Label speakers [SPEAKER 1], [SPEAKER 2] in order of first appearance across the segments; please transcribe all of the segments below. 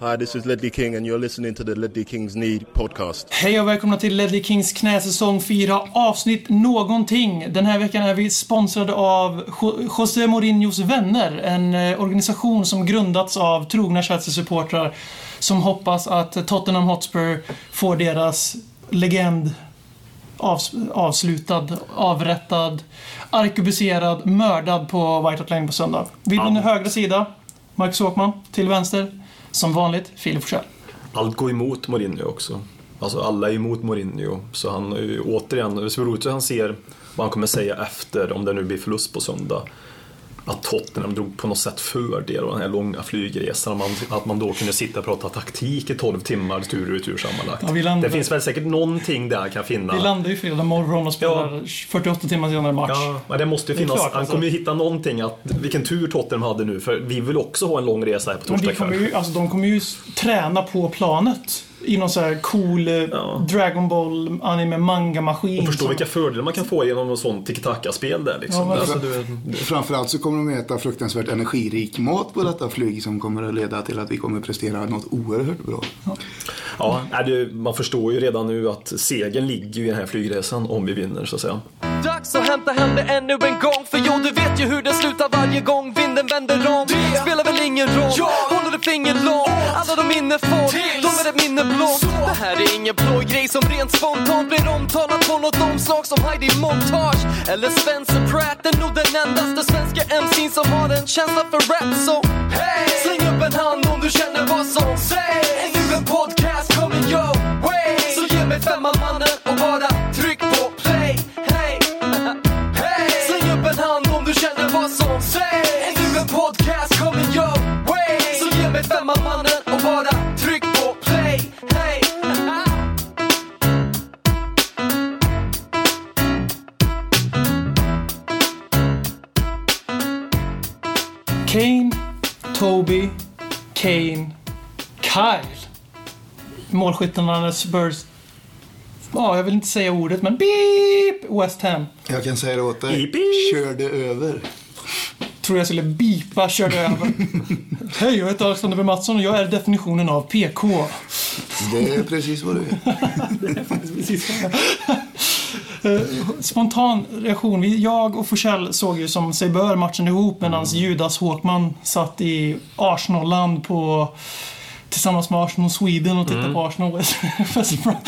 [SPEAKER 1] Hi, this is Ledley King and you're listening to the Ledley Kings Need podcast.
[SPEAKER 2] Hej och välkomna till Ledley Kings knäsäsong 4, avsnitt någonting. Den här veckan är vi sponsrade av Jo- José Mourinhos vänner, en eh, organisation som grundats av trogna Chelsea-supportrar som hoppas att Tottenham Hotspur får deras legend avs- avslutad, avrättad, arkebuserad, mördad på White Hart Lane på söndag. Vid min högra sida, Marcus Åkman. Till vänster, som vanligt, Filip Forsell.
[SPEAKER 3] Allt går emot Mourinho också. Alltså alla är emot Mourinho. Så han är ju återigen, det ska bli roligt hur han ser vad han kommer säga efter, om det nu blir förlust på söndag. Att Tottenham drog på något sätt fördel av den här långa flygresan. Att man, att man då kunde sitta och prata taktik i 12 timmar tur och retur
[SPEAKER 2] Ja, vi
[SPEAKER 3] sammanlagt.
[SPEAKER 2] landar-
[SPEAKER 3] det finns väl säkert någonting där han kan finna.
[SPEAKER 2] Vi landar ju fredag morgon och spelar 48 timmar senare match.
[SPEAKER 3] Ja, men det måste ju
[SPEAKER 2] Det är
[SPEAKER 3] finnas.
[SPEAKER 2] klart,
[SPEAKER 3] han
[SPEAKER 2] alltså.
[SPEAKER 3] kommer ju hitta någonting. Att, vilken tur Tottenham hade nu, för vi vill också ha en lång resa här på
[SPEAKER 2] Men
[SPEAKER 3] torsdag
[SPEAKER 2] vi kommer
[SPEAKER 3] kväll.
[SPEAKER 2] ju, alltså, de kommer ju s- träna på planet. I någon så här cool eh, Dragon Ball anime manga-maskin.
[SPEAKER 3] Och förstå
[SPEAKER 2] som-
[SPEAKER 3] vilka fördelar man kan få genom en sån tiki-taka-spel där liksom.
[SPEAKER 2] Ja, men-
[SPEAKER 3] alltså, du,
[SPEAKER 4] Framförallt så kommer de äta fruktansvärt energirik mat på detta flyg som kommer att leda till att vi kommer prestera något oerhört bra.
[SPEAKER 3] Ja, nej, det, man förstår ju redan nu att segern ligger ju i den här flygresan om vi vinner så att säga.
[SPEAKER 5] Dags att hämta hem det ännu en gång För jo, du vet ju hur det slutar varje gång vinden vänder om Spelar väl ingen roll, håller ett finger långt Alla de minne får, de är ett minne blått Det här är ingen blå grej som rent spontant blir omtalat på något omslag som Heidi Montage eller Spencer Pratt är nog den endaste svenska MC'n som har en känsla för rap så hey! släng upp en hand om du känner vad som sägs Är nu en podcast kommer your way Så ge mig femman mannen och bara tryck på play hey! Hey! Släng upp en hand om du känner vad som sägs Är nu en podcast kommer your way Så ge mig femman mannen och bara tryck på play hey!
[SPEAKER 2] Kane, Toby, Kane, Kyle. Målskyttarna Spurs. Ja, jag vill inte säga ordet, men beep! West Ham.
[SPEAKER 4] Jag kan säga det åt dig.
[SPEAKER 3] Beep, beep.
[SPEAKER 4] Körde över.
[SPEAKER 2] Tror jag skulle bipa, körde över. Hej, jag heter Alexander B Mattsson och jag är definitionen av PK.
[SPEAKER 4] Det är precis vad du är.
[SPEAKER 2] Precis. Eh, Spontan reaktion. Vi- Jag och Forsell såg ju som sig bör matchen ihop medan Judas Håkman satt i Arsenal-land på Tillsammans med Arsenal Sweden och tittade på Arsenal. Fast bra.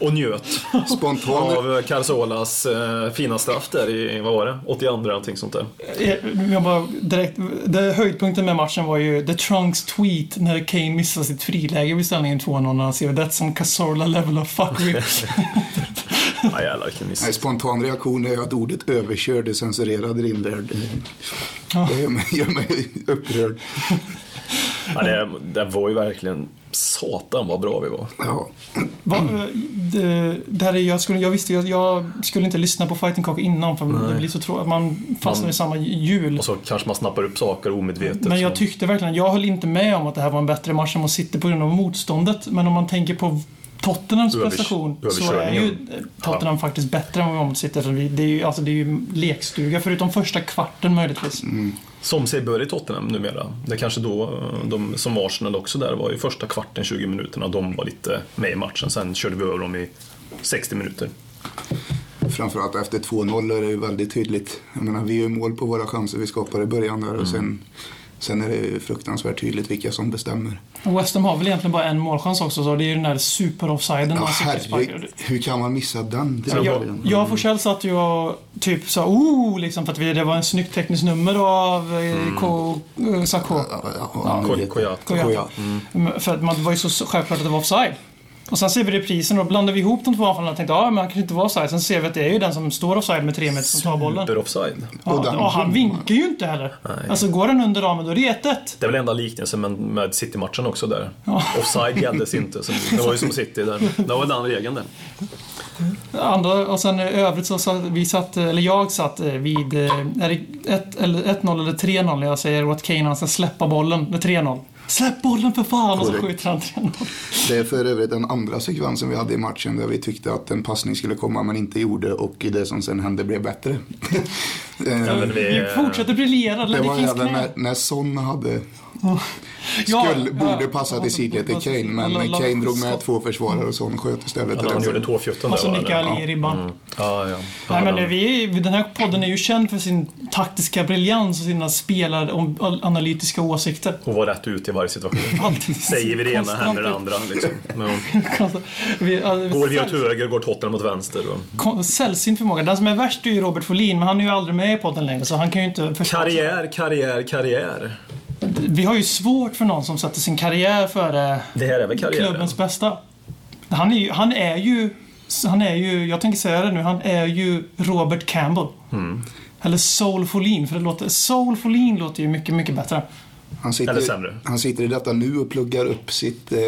[SPEAKER 3] Och njöt
[SPEAKER 4] Spontan.
[SPEAKER 3] av Carzolas eh, fina straff där i, vad var det, 82 någonting sånt där.
[SPEAKER 2] Eh, Jag bara direkt, det, höjdpunkten med matchen var ju The Trunks tweet när Kane missar sitt friläge vid ställningen 2-0 när han skrev “That's some Cazorla level of fuckery”.
[SPEAKER 3] Ja, jävlar vilken miss.
[SPEAKER 4] Nej, spontan reaktion är att ordet överkörd är censurerad i din värld. Det gör mig, gör mig upprörd.
[SPEAKER 3] Ja, det, det var ju verkligen, satan vad bra vi var.
[SPEAKER 4] Ja.
[SPEAKER 2] Va, eh, det, det här är, jag, skulle, jag visste ju att jag skulle inte lyssna på Fighting Cock innan för det blir så tråkigt. Man fastnar i samma hjul.
[SPEAKER 3] Och så kanske man snappar upp saker omedvetet.
[SPEAKER 2] Men jag
[SPEAKER 3] så-
[SPEAKER 2] tyckte verkligen, jag höll inte med om att det här var en bättre match än mot City på grund av motståndet. Men om man tänker på Tottenhams
[SPEAKER 3] Övers-
[SPEAKER 2] prestation så är
[SPEAKER 3] överkörningen.
[SPEAKER 2] ju eh, Tottenham faktiskt bättre än vad vi var mot City. För vi- Det är ju, alltså, det är ju lekstuga förutom första kvarten möjligtvis.
[SPEAKER 3] Som sig bör i Tottenham numera. Det kanske då, eh, de, som Arsenal också där, var i första kvarten, 20 minuterna, de var lite med i matchen. Sen körde vi över dem i 60 minuter.
[SPEAKER 4] Framförallt efter 2-0 är det ju väldigt tydligt. Jag menar, vi gör mål på våra chanser vi skapar i början där och sen, sen är det ju fruktansvärt tydligt vilka som bestämmer.
[SPEAKER 2] Och West Ham har väl egentligen bara en målchans också så det är ju den där super-offsiden.
[SPEAKER 4] Ja,
[SPEAKER 2] när City sparkar.
[SPEAKER 4] herregud. Hur kan man missa den? Det är
[SPEAKER 2] Jag, jag och Forsell satt ju och typ sa oh, liksom för att vi, det var en snyggt tekniskt nummer av eh, K, eh, Sakho.
[SPEAKER 4] Ja,
[SPEAKER 3] Ko- Koyat.
[SPEAKER 2] Koyata.
[SPEAKER 4] Koyata.
[SPEAKER 2] Men Mm. För att man, det var ju så- så självklart att det var offside. Och sen ser vi reprisen och då blandar vi ihop de två anfallarna och tänkte ja, men han kanske inte var offside. Sen ser vi att det är ju den som står offside med tre meter som tar bollen.
[SPEAKER 3] Super offside.
[SPEAKER 4] Och
[SPEAKER 2] Ja,
[SPEAKER 4] den-
[SPEAKER 2] och han vinkar ju inte heller. Alltså går den under ramen då är det 1
[SPEAKER 3] Det är väl enda liknelsen med, med City-matchen också där. Offside gälldes inte. Så det var ju som City där. Det var väl den regeln där.
[SPEAKER 2] Andra, och sen i övrigt så satt vi satt, eller jag satt eh, vid, eh, är det 1-0 eller 3-0 när jag säger åt Kane han ska släppa bollen med 3-0. Släpp bollen för fan! Och så
[SPEAKER 4] Korrekt.
[SPEAKER 2] skjuter han 3-0.
[SPEAKER 4] Det är för övrigt den andra sekvensen vi hade i matchen där vi tyckte att en passning skulle komma men inte gjorde och det som sen hände blev bättre. Eh,
[SPEAKER 3] men vi-
[SPEAKER 2] Vi fortsätter briljera.
[SPEAKER 4] det
[SPEAKER 2] Ledley
[SPEAKER 4] var
[SPEAKER 2] Kings
[SPEAKER 4] även
[SPEAKER 2] knä.
[SPEAKER 4] när, när Son hade,
[SPEAKER 2] Ja,
[SPEAKER 4] skulle,
[SPEAKER 2] ja,
[SPEAKER 4] borde
[SPEAKER 2] ja,
[SPEAKER 4] passa
[SPEAKER 2] ja,
[SPEAKER 4] till sidled till
[SPEAKER 2] pass-
[SPEAKER 4] Kane men
[SPEAKER 2] alla- alla
[SPEAKER 4] Kane drog med
[SPEAKER 2] skott.
[SPEAKER 4] två försvarare och Son sköt istället. Alltså,
[SPEAKER 3] Att han
[SPEAKER 4] Den-
[SPEAKER 3] gjorde tåfjutton
[SPEAKER 2] Och så
[SPEAKER 3] där va?
[SPEAKER 2] nickar Ali i ribban.
[SPEAKER 3] Ja, Mm. ja.
[SPEAKER 2] Alltså, Nej, men
[SPEAKER 3] den-
[SPEAKER 2] vi, den här podden är ju känd för sin taktiska briljans och sina spelaranalytiska åsikter.
[SPEAKER 3] Och var rätt ut i varje situation.
[SPEAKER 2] Alltid.
[SPEAKER 3] Säger vi det ena
[SPEAKER 2] Konstant
[SPEAKER 3] händer det
[SPEAKER 2] ut.
[SPEAKER 3] andra. Liksom. Men,
[SPEAKER 2] Konstant. Vi, alltså,
[SPEAKER 3] går vi åt höger går Tottenham åt vänster. Och...
[SPEAKER 2] kon- Sällsynt förmåga. Den som är värst är ju Robert Folin, men han är ju aldrig med i podden längre så han kan ju inte... försvara sig.
[SPEAKER 3] Karriär, karriär, karriär.
[SPEAKER 2] Vi har ju svårt för någon som sätter sin karriär före
[SPEAKER 3] Det här är väl karriären?
[SPEAKER 2] klubbens bästa. Han är, ju, han är ju... Han är ju... Jag tänker säga det nu. Han är ju Robert Campbell. Eller Soul Folin, för det låter... Soul Folin låter ju mycket, mycket bättre.
[SPEAKER 4] Han sitter,
[SPEAKER 3] Eller sämre.
[SPEAKER 4] han sitter i detta nu och pluggar upp sitt eh,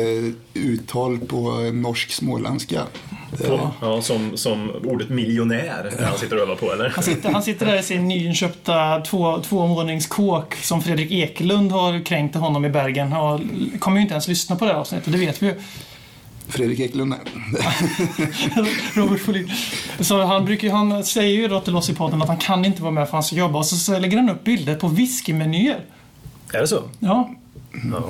[SPEAKER 4] uttal på Eh, norsk småländska. Det-
[SPEAKER 3] Ja, som, som ordet miljonär när han sitter och övar på, eller?
[SPEAKER 2] Han sitter, han sitter där i sin nyinköpta två, tvåvåningskåk som Fredrik Ekelund har kränkt honom i Bergen. Och kommer ju inte ens lyssna på det här avsnittet, det vet vi ju.
[SPEAKER 4] Fredrik Ekelund, nej.
[SPEAKER 2] Robert Folin. Så han, brukar, ju- han säger ju då till oss i podden att han kan inte vara med för han ska jobba. Och så, så lägger han upp bilder på whiskymenyer.
[SPEAKER 3] Är det så?
[SPEAKER 2] Ja,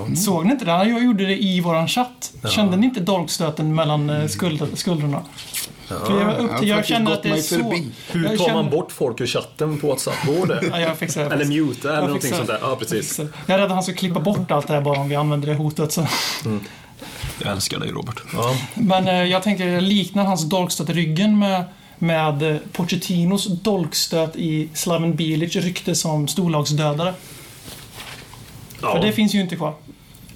[SPEAKER 3] Ja.
[SPEAKER 2] såg ni inte det? Jag gjorde det i våran chatt. Kände ni inte dolkstöten mellan eh, skuld, skuldrorna? För jag, var upp till,
[SPEAKER 4] Jag har
[SPEAKER 2] jag känner
[SPEAKER 4] Mm. faktiskt
[SPEAKER 2] att det är
[SPEAKER 4] gått mig
[SPEAKER 2] så...
[SPEAKER 4] förbi.
[SPEAKER 3] Hur
[SPEAKER 2] jag
[SPEAKER 3] tar man
[SPEAKER 2] känner-
[SPEAKER 3] bort folk ur chatten på WhatsApp? Går
[SPEAKER 2] Ja,
[SPEAKER 3] det?
[SPEAKER 2] jag fixar det.
[SPEAKER 3] Eller mute eller
[SPEAKER 2] Jag
[SPEAKER 3] någonting
[SPEAKER 2] fixar
[SPEAKER 3] sånt där. Ja,
[SPEAKER 2] Jag
[SPEAKER 3] precis.
[SPEAKER 2] fixar det. Jag är rädd att han ska klippa bort allt det här bara om vi använder det hotet. Så.
[SPEAKER 3] Jag älskar dig, Robert. Ja.
[SPEAKER 2] Men eh, jag tänkte jag liknar hans dolkstöt i ryggen med, med eh, Pochettinos dolkstöt i Slaven Bilic rykte som storlagsdödare.
[SPEAKER 3] Ja.
[SPEAKER 2] För det finns ju inte kvar.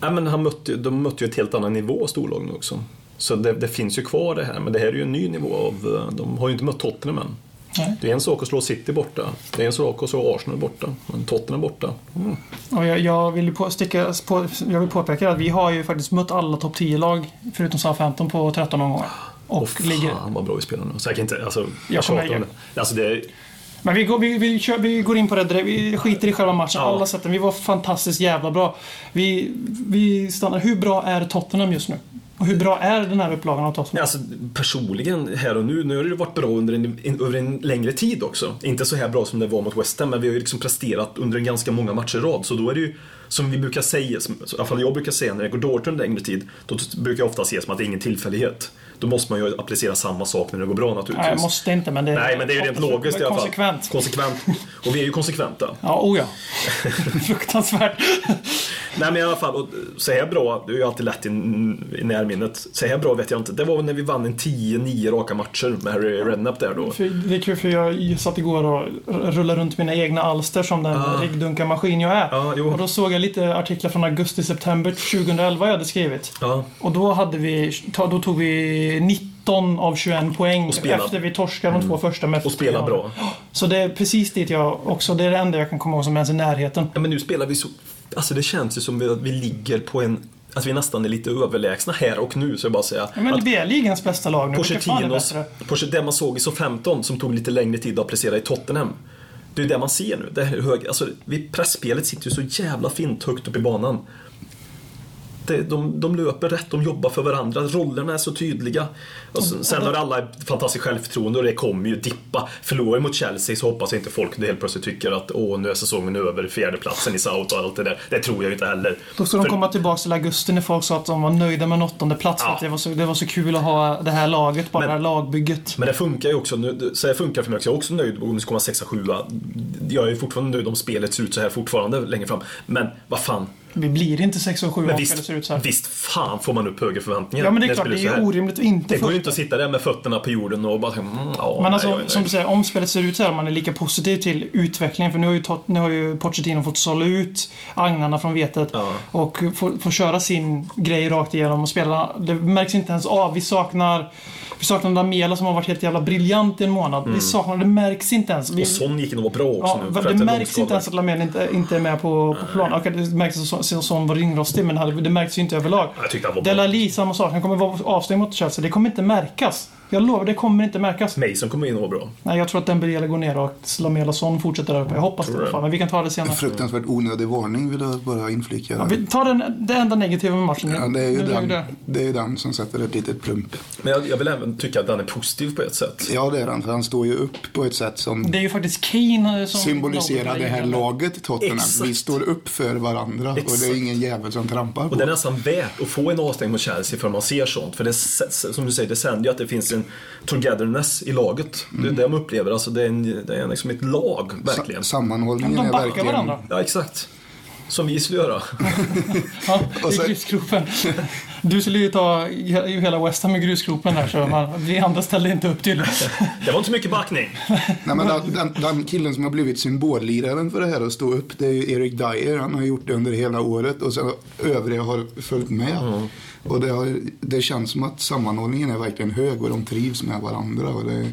[SPEAKER 3] Nej, men han mötte, ju- de mötte ju ett helt annan nivå, storlagen nu också. Så det, det finns ju kvar det här, men det här är ju en ny nivå. Av, eh, de har ju inte mött Tottenham än.
[SPEAKER 2] Nej.
[SPEAKER 3] Det är en sak att slå City borta, det är en sak att slå Arsenal borta, men Tottenham borta. Mm.
[SPEAKER 2] Och jag, jag, vill ju på, sticka, på, jag vill påpeka att vi har ju faktiskt mött alla topp 10-lag förutom Southampton på 13 omgångar. Och
[SPEAKER 3] Och
[SPEAKER 2] ligger...
[SPEAKER 3] fan vad bra vi spelar nu. Så jag kan inte, alltså,
[SPEAKER 2] Jag
[SPEAKER 3] jag tjatar
[SPEAKER 2] kommer-
[SPEAKER 3] om det. Alltså, det är,
[SPEAKER 2] Men vi går, vi, vi, kör, vi går in på det direkt. Vi skiter i själva matchen.
[SPEAKER 3] Ja.
[SPEAKER 2] Alla sätten. Vi var fantastiskt jävla bra. Vi, vi stannar. Hur bra är Tottenham just nu? Och
[SPEAKER 3] Eh,
[SPEAKER 2] hur bra är den här upplagan av Tottenham?
[SPEAKER 3] alltså, personligen, här och nu, nu har det ju varit bra under en, en, över en längre tid också. Inte så här bra som det var mot West Ham, men vi har ju liksom presterat under en ganska många matcher i rad. Så då är det ju, som vi brukar säga, som, i alla fall jag brukar säga när det går dåligt under en längre tid, då t- brukar jag ofta se som att det är ingen tillfällighet. Då måste man ju applicera samma sak när det går bra naturligtvis.
[SPEAKER 2] Nej, jag måste inte men det
[SPEAKER 3] Nej, men det är ju rent logiskt i alla fall.
[SPEAKER 2] Konsekvent.
[SPEAKER 3] Konsekvent. Och vi är ju konsekventa.
[SPEAKER 2] Ja, oh ja. Fruktansvärt.
[SPEAKER 3] Nej men i alla fall, och så här bra, det är ju alltid lätt i, i närminnet. Så här bra vet jag inte. Det var väl när vi vann en 10-9 raka matcher med Harry Redknapp där då.
[SPEAKER 2] För det är kul för jag satt igår och r- rullade runt mina egna alster som den
[SPEAKER 3] Ah.
[SPEAKER 2] ryggdunkarmaskin jag är.
[SPEAKER 3] Ja, jo.
[SPEAKER 2] och då såg jag lite artiklar från augusti-september 2011 jag hade skrivit.
[SPEAKER 3] Ja,
[SPEAKER 2] Och då, hade vi, ta- då tog vi 19 av 21 poäng
[SPEAKER 3] Och spela- Mm.
[SPEAKER 2] efter vi torskade de två första med
[SPEAKER 3] och spela bra.
[SPEAKER 2] Så det är precis dit jag också, det är det enda jag kan komma ihåg som ens är i närheten.
[SPEAKER 3] Ja, men nu spelar vi så... Alltså det känns ju som vi- att vi ligger på en... Att vi nästan är lite överlägsna här och nu, så jag bara säga.
[SPEAKER 2] Ja, men det är ligans bästa lag nu. Vilka fan är
[SPEAKER 3] Pochettinos,
[SPEAKER 2] bättre?
[SPEAKER 3] Porsche, det man såg i SO 15 som tog lite längre tid att applicera i Tottenham. Det är ju det man ser nu. Det här är hög, alltså, vi, pressspelet sitter ju så jävla fint högt upp i banan. Det, de, de löper rätt, de jobbar för varandra, rollerna är så tydliga. Och sen, sen har alla ett fantastiskt självförtroende och det kommer ju dippa. Förlorar vi mot Chelsea så hoppas inte folk helt plötsligt tycker att åh, nu är säsongen över, fjärdeplatsen i South och allt det där. Det tror jag ju inte heller.
[SPEAKER 2] Då ska de
[SPEAKER 3] För-
[SPEAKER 2] komma tillbaka till augusti när folk sa att de var nöjda med en åttonde plats för
[SPEAKER 3] Ja.
[SPEAKER 2] att det var, så, det var så kul att ha det här laget, bara
[SPEAKER 3] Men-
[SPEAKER 2] det här lagbygget.
[SPEAKER 3] Men det funkar ju också. Nu, så här funkar för mig också. Jag är också nöjd om vi ska komma sexa, sjua. Jag är fortfarande nöjd om spelet ser ut så här fortfarande längre fram. Men vad fan.
[SPEAKER 2] Vi blir inte 6 och 7
[SPEAKER 3] Men
[SPEAKER 2] raka det
[SPEAKER 3] visst,
[SPEAKER 2] ser ut så här.
[SPEAKER 3] visst fan får man upp högre förväntningar.
[SPEAKER 2] Ja men det
[SPEAKER 3] när
[SPEAKER 2] är klart, det
[SPEAKER 3] spelet
[SPEAKER 2] är
[SPEAKER 3] så här.
[SPEAKER 2] ju orimligt att inte
[SPEAKER 3] Det
[SPEAKER 2] få
[SPEAKER 3] går ju inte att sitta där med fötterna på jorden och bara mm, ja,
[SPEAKER 2] Men
[SPEAKER 3] nej,
[SPEAKER 2] alltså,
[SPEAKER 3] jag är nöjd.
[SPEAKER 2] som du säger, om spelet ser ut så här, man är lika positiv till utvecklingen. För nu har ju, Tot- nu har ju Pochettino fått sålla ut agnarna från vetet
[SPEAKER 3] Ja.
[SPEAKER 2] och får, får köra sin grej rakt igenom. Och spelarna, det märks inte ens av. Vi saknar, vi saknar Lamela som har varit helt jävla briljant i en månad.
[SPEAKER 3] Mm.
[SPEAKER 2] Vi saknar, det märks inte ens. Vi,
[SPEAKER 3] Och Son gick in och var bra också
[SPEAKER 2] ja,
[SPEAKER 3] nu. för att
[SPEAKER 2] det
[SPEAKER 3] är
[SPEAKER 2] märks inte
[SPEAKER 3] långskadad.
[SPEAKER 2] ens att Lamela inte, inte är med på, på plan. Okej, det märks att Son- Son var ringrostig, men det märks ju inte överlag.
[SPEAKER 3] Jag tyckte han var bra.
[SPEAKER 2] Delali, samma sak. Han kommer vara avstängd mot Chelsea. Det kommer inte märkas. Jag lovar, det kommer inte märkas.
[SPEAKER 3] Mason kommer in och var bra.
[SPEAKER 2] Nej, jag tror att Dembélé går ner och att Lamela Son fortsätter där uppe. Jag hoppas det i
[SPEAKER 3] Tror
[SPEAKER 2] alla
[SPEAKER 3] du?
[SPEAKER 2] fall, men vi kan ta det
[SPEAKER 4] En
[SPEAKER 2] senare.
[SPEAKER 4] fruktansvärt onödig varning vill jag bara inflika.
[SPEAKER 2] Ja, vi tar den, det enda negativa med matchen.
[SPEAKER 4] Ja, det, är ju
[SPEAKER 2] Nu
[SPEAKER 4] den,
[SPEAKER 2] det.
[SPEAKER 4] det är ju den som sätter ett litet plump.
[SPEAKER 3] Men jag, jag vill även tycka att den är positiv på ett sätt.
[SPEAKER 4] Ja, det är han. För han står ju upp på ett sätt som
[SPEAKER 2] Det är ju faktiskt Kane eh, som...
[SPEAKER 4] symboliserar det här laget Tottenham.
[SPEAKER 3] Exakt.
[SPEAKER 4] Vi står upp för varandra och det
[SPEAKER 3] Exakt.
[SPEAKER 4] är ingen jävel som trampar på.
[SPEAKER 3] Och det är nästan värt att få en avstängning mot Chelsea för man ser sånt. För det, s- som du säger, det sänder ju att det finns en togetherness i laget. Det är det de upplever. Alltså det är, en, det är liksom ett lag, verkligen.
[SPEAKER 4] Sa- sammanhållningen
[SPEAKER 2] De
[SPEAKER 4] är
[SPEAKER 2] backar
[SPEAKER 4] verkligen...
[SPEAKER 2] varandra.
[SPEAKER 3] Ja, exakt. Som vi skulle göra.
[SPEAKER 2] Ja,
[SPEAKER 4] Och
[SPEAKER 2] i
[SPEAKER 4] sen-
[SPEAKER 2] grusgropen. Du skulle ju ta he- hela West Ham i grusgropen där, så man, vi andra ställde inte upp till.
[SPEAKER 3] Det var inte mycket backning.
[SPEAKER 4] Nej, men den, den, den killen som har blivit symbolliraren för det här att stå upp, det är ju Eric Dyer. Han har gjort det under hela året och sen övriga har följt med.
[SPEAKER 3] Mm.
[SPEAKER 4] Och det, har, det känns som att sammanhållningen är verkligen hög och de trivs med varandra. Och det är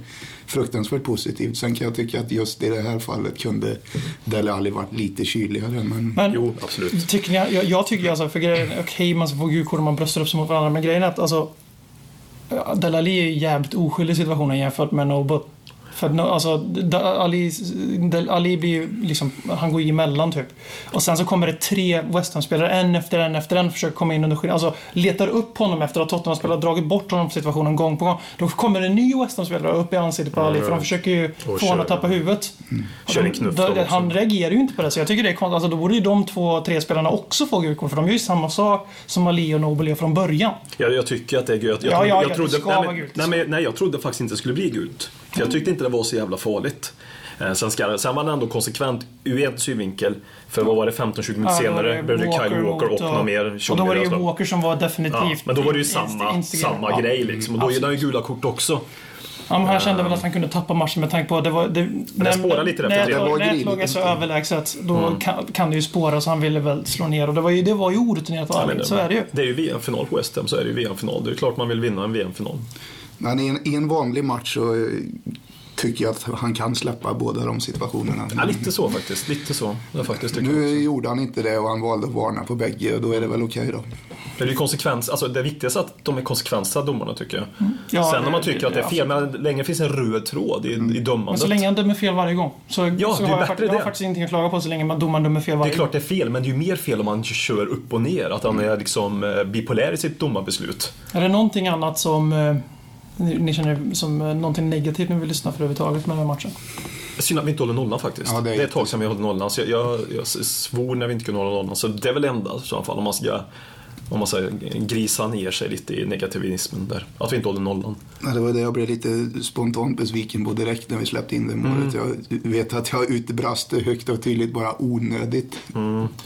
[SPEAKER 4] fruktansvärt positivt. Sen kan jag tycka att just i det här fallet kunde Dele Alli varit lite kyligare. Men
[SPEAKER 2] Men
[SPEAKER 3] Jo, absolut.
[SPEAKER 2] Tycker ni, jag, jag tycker ju alltså, för grejen, okej man får gulkort om man bröstar upp sig mot varandra, men grejen är att alltså Delali är ju jävligt oskyldig i situationen jämfört med Nobut. För att no, alltså, Da- Ali, Del Ali blir ju liksom, han går ju emellan typ. Och sen så kommer det tre West Ham-spelare, en efter en efter en, försöker komma in under skyddet. Alltså letar upp honom efter att Tottenham-spelare har dragit bort honom från situationen gång på gång. Då kommer en ny West Ham-spelare upp i ansiktet på Ali, för de försöker ju
[SPEAKER 3] Och
[SPEAKER 2] få honom att
[SPEAKER 3] kör. Mm.
[SPEAKER 2] tappa huvudet.
[SPEAKER 3] Kör en knuff
[SPEAKER 2] Då-
[SPEAKER 3] då också.
[SPEAKER 2] Han reagerar ju inte på det, så jag tycker det är konstigt. Alltså, då borde ju de två, tre spelarna också få gult kort, för de gör ju samma sak som Ali och Nobel gör från början.
[SPEAKER 3] Jag, jag tycker att det är gult. Jag,
[SPEAKER 2] Ja, ja,
[SPEAKER 3] trodde- jag
[SPEAKER 2] ja,
[SPEAKER 3] trodde,
[SPEAKER 2] det ska
[SPEAKER 3] nej,
[SPEAKER 2] vara
[SPEAKER 3] men-
[SPEAKER 2] gult.
[SPEAKER 3] Nej, men, nej, jag trodde faktiskt inte det skulle bli gult. För jag tyckte inte det var så jävla farligt. Eh, Sen, ska, sen var han ändå konsekvent ur en synvinkel. För vad var det, 15-20 minuter
[SPEAKER 2] Ja, då var
[SPEAKER 3] senare
[SPEAKER 2] det
[SPEAKER 3] behövde Kyle Walker
[SPEAKER 2] mot
[SPEAKER 3] och någon mer.
[SPEAKER 2] Och då var det ju
[SPEAKER 3] Tjongerej och så.
[SPEAKER 2] Walker som var
[SPEAKER 3] Ja,
[SPEAKER 2] definitivt...
[SPEAKER 3] men då var det ju
[SPEAKER 2] inst-
[SPEAKER 3] samma,
[SPEAKER 2] instigerad.
[SPEAKER 3] samma
[SPEAKER 2] Ja.
[SPEAKER 3] grej liksom. Och då gillar han ju gula kort också.
[SPEAKER 2] Ja, men han kände väl att han kunde tappa matchen med tanke på att det var... Det, när,
[SPEAKER 3] Ehm. spårar lite Mm. där på
[SPEAKER 2] när, ett
[SPEAKER 3] tre.
[SPEAKER 4] Det var
[SPEAKER 2] lag- när ett
[SPEAKER 4] grinigt.
[SPEAKER 2] lag är så överlägset, då kan, kan det ju spåra, så han ville väl slå ner. Och det var ju, det var ju orutinerat av Ali, så är det ju.
[SPEAKER 3] Det är ju VM-final på West Ham, så är det ju VM-final. Det är ju klart man vill vinna en VM-final.
[SPEAKER 4] men i, en, i en vanlig match så eh, tycker jag att han kan släppa båda de situationerna.
[SPEAKER 3] Ja, lite så faktiskt. Lite så. Det faktiskt tycker jag också.
[SPEAKER 4] Nu gjorde han inte det och han valde att varna på bägge och då är det väl okej då.
[SPEAKER 3] Det är ju konsekvens, alltså det viktigaste är att de är konsekventa domarna tycker jag.
[SPEAKER 2] Mm. Ja,
[SPEAKER 3] Sen
[SPEAKER 2] det-
[SPEAKER 3] om man tycker att det är fel, men länge finns en röd tråd i, i dömandet.
[SPEAKER 2] Men så länge han dömer fel varje gång. Så,
[SPEAKER 3] Ja,
[SPEAKER 2] så
[SPEAKER 3] det är
[SPEAKER 2] har jag,
[SPEAKER 3] bättre
[SPEAKER 2] fakt- jag har
[SPEAKER 3] det.
[SPEAKER 2] faktiskt ingenting att klaga på så länge man- domaren dömer fel
[SPEAKER 3] Det
[SPEAKER 2] varje
[SPEAKER 3] är klart det är fel, men det är ju mer fel om man kör upp och ner. Att han är liksom eh, bipolär i sitt domarbeslut.
[SPEAKER 2] Är det någonting annat som eh, ni, ni känner som eh, någonting negativt ni vill lyssna för överhuvudtaget med den här matchen?
[SPEAKER 3] Synd att vi inte håller nollan faktiskt.
[SPEAKER 4] Ja, det
[SPEAKER 3] det,
[SPEAKER 4] är
[SPEAKER 3] är ett tag sedan vi höll nollan. Så jag, jag, jag svor när vi inte kunde hålla nollan. Så det är väl det enda i så fall om man ska om man säger, grisa ner sig lite i negativismen där. Att vi inte håller nollan.
[SPEAKER 4] Ja, det var det jag blev lite spontant besviken på direkt när vi släppte in det målet.
[SPEAKER 2] Mm.
[SPEAKER 4] Jag vet att jag utbrast det högt och tydligt, bara onödigt.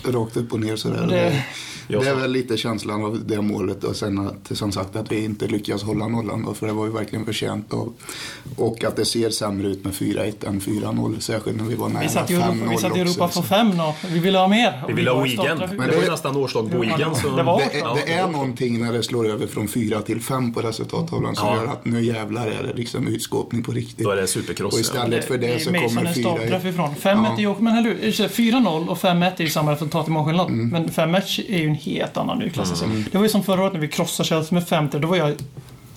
[SPEAKER 4] Rakt upp och ner sådär.
[SPEAKER 2] Mm. Det-
[SPEAKER 4] Det,
[SPEAKER 3] Jag
[SPEAKER 4] det är
[SPEAKER 3] sa-
[SPEAKER 4] väl lite känslan av det målet och sen att, som sagt att vi inte lyckas hålla nollan då, för det var ju verkligen förtjänt av. Och att det ser sämre ut med 4-1 än 4-0, särskilt när vi var nära
[SPEAKER 2] Vi satt i Europa, vi satt i
[SPEAKER 4] 5-0
[SPEAKER 2] Europa
[SPEAKER 4] också,
[SPEAKER 2] för
[SPEAKER 4] så.
[SPEAKER 2] fem då. Vi ville ha mer.
[SPEAKER 3] Vi ville ha
[SPEAKER 2] var stolta.
[SPEAKER 3] Wigan. Det
[SPEAKER 2] Men
[SPEAKER 3] var ju nästan årslag på Wigan. Så...
[SPEAKER 2] Det var-
[SPEAKER 4] Det, det är någonting när det slår över från 4 till 5 på resultattavlan som
[SPEAKER 3] Ja.
[SPEAKER 4] gör att nu jävlar är det liksom utskåpning på riktigt.
[SPEAKER 3] Då är det supercross,
[SPEAKER 4] Och
[SPEAKER 3] ja.
[SPEAKER 4] istället för det så
[SPEAKER 2] är Mason
[SPEAKER 4] kommer
[SPEAKER 2] en
[SPEAKER 4] 4
[SPEAKER 2] startträff ifrån. 5-1 är ju också- men eller hur, ursäkta, 4-0 och 5-1 är ju samma resultat i målskillnad.
[SPEAKER 4] Mm.
[SPEAKER 2] Men 5-1 är ju en helt annan nu klassas Det var ju som förra året när vi krossade Chelsea med 5-3. Då var jag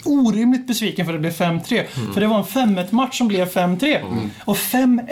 [SPEAKER 2] orimligt besviken för att det blev 5-3.
[SPEAKER 4] Mm.
[SPEAKER 2] För det var en 5-1-match som blev 5-3. Och 5-1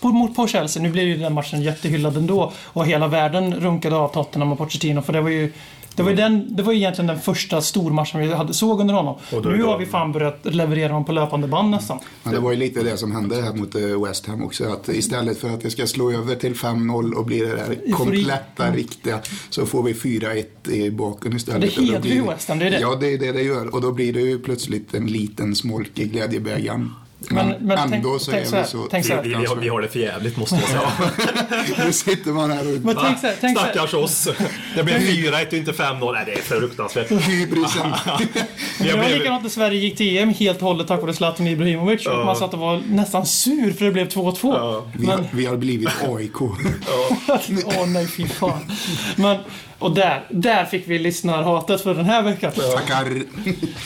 [SPEAKER 2] på, mot på Chelsea. Nu blev ju den matchen jättehyllad ändå. Och hela världen runkade av Tottenham och Pochettino. För det var ju det var, ju
[SPEAKER 4] Mm.
[SPEAKER 2] den, det var ju egentligen den första stormatchen vi hade såg under honom.
[SPEAKER 3] Och då-
[SPEAKER 2] nu har
[SPEAKER 3] då-
[SPEAKER 2] vi fan börjat leverera honom på löpande band nästan.
[SPEAKER 4] Men det var ju lite det som hände här mot eh, West Ham också. Att istället för att det ska slå över till 5-0 och bli det där kompletta, riktiga, så får vi 4-1 i baken istället.
[SPEAKER 2] Mm. Det
[SPEAKER 4] Och då
[SPEAKER 2] hedrar
[SPEAKER 4] blir-
[SPEAKER 2] ju West Ham, det är det.
[SPEAKER 4] Ja, det är det det gör. Och då blir det ju plötsligt en liten smolk i glädjebägaren.
[SPEAKER 2] Men-
[SPEAKER 4] Men,
[SPEAKER 2] men
[SPEAKER 4] ändå
[SPEAKER 2] tänk-
[SPEAKER 4] så
[SPEAKER 2] tänk
[SPEAKER 4] är
[SPEAKER 2] så här,
[SPEAKER 4] vi så...
[SPEAKER 2] tänk så
[SPEAKER 3] Vi, vi, vi, har, vi har det för jävligt måste jag säga.
[SPEAKER 4] Nu sitter man här och...
[SPEAKER 2] Men tänk så här, tänk så här.
[SPEAKER 3] Stackars oss. Det blev 4-1 och inte 5-0. Nej, det är fruktansvärt.
[SPEAKER 4] Hybrisen.
[SPEAKER 3] Vi
[SPEAKER 2] Det
[SPEAKER 3] har
[SPEAKER 2] var
[SPEAKER 3] blivit-
[SPEAKER 2] likadant när Sverige gick till EM helt och hållet tack vare Zlatan Ibrahimovic. Och man satt och var nästan sur för det blev 2-2.
[SPEAKER 4] Vi
[SPEAKER 2] Men,
[SPEAKER 4] har, vi har blivit AIK.
[SPEAKER 2] åh nej fy fan. Men, och där, där fick vi lyssnarhatet för den här veckan.
[SPEAKER 4] Tackar.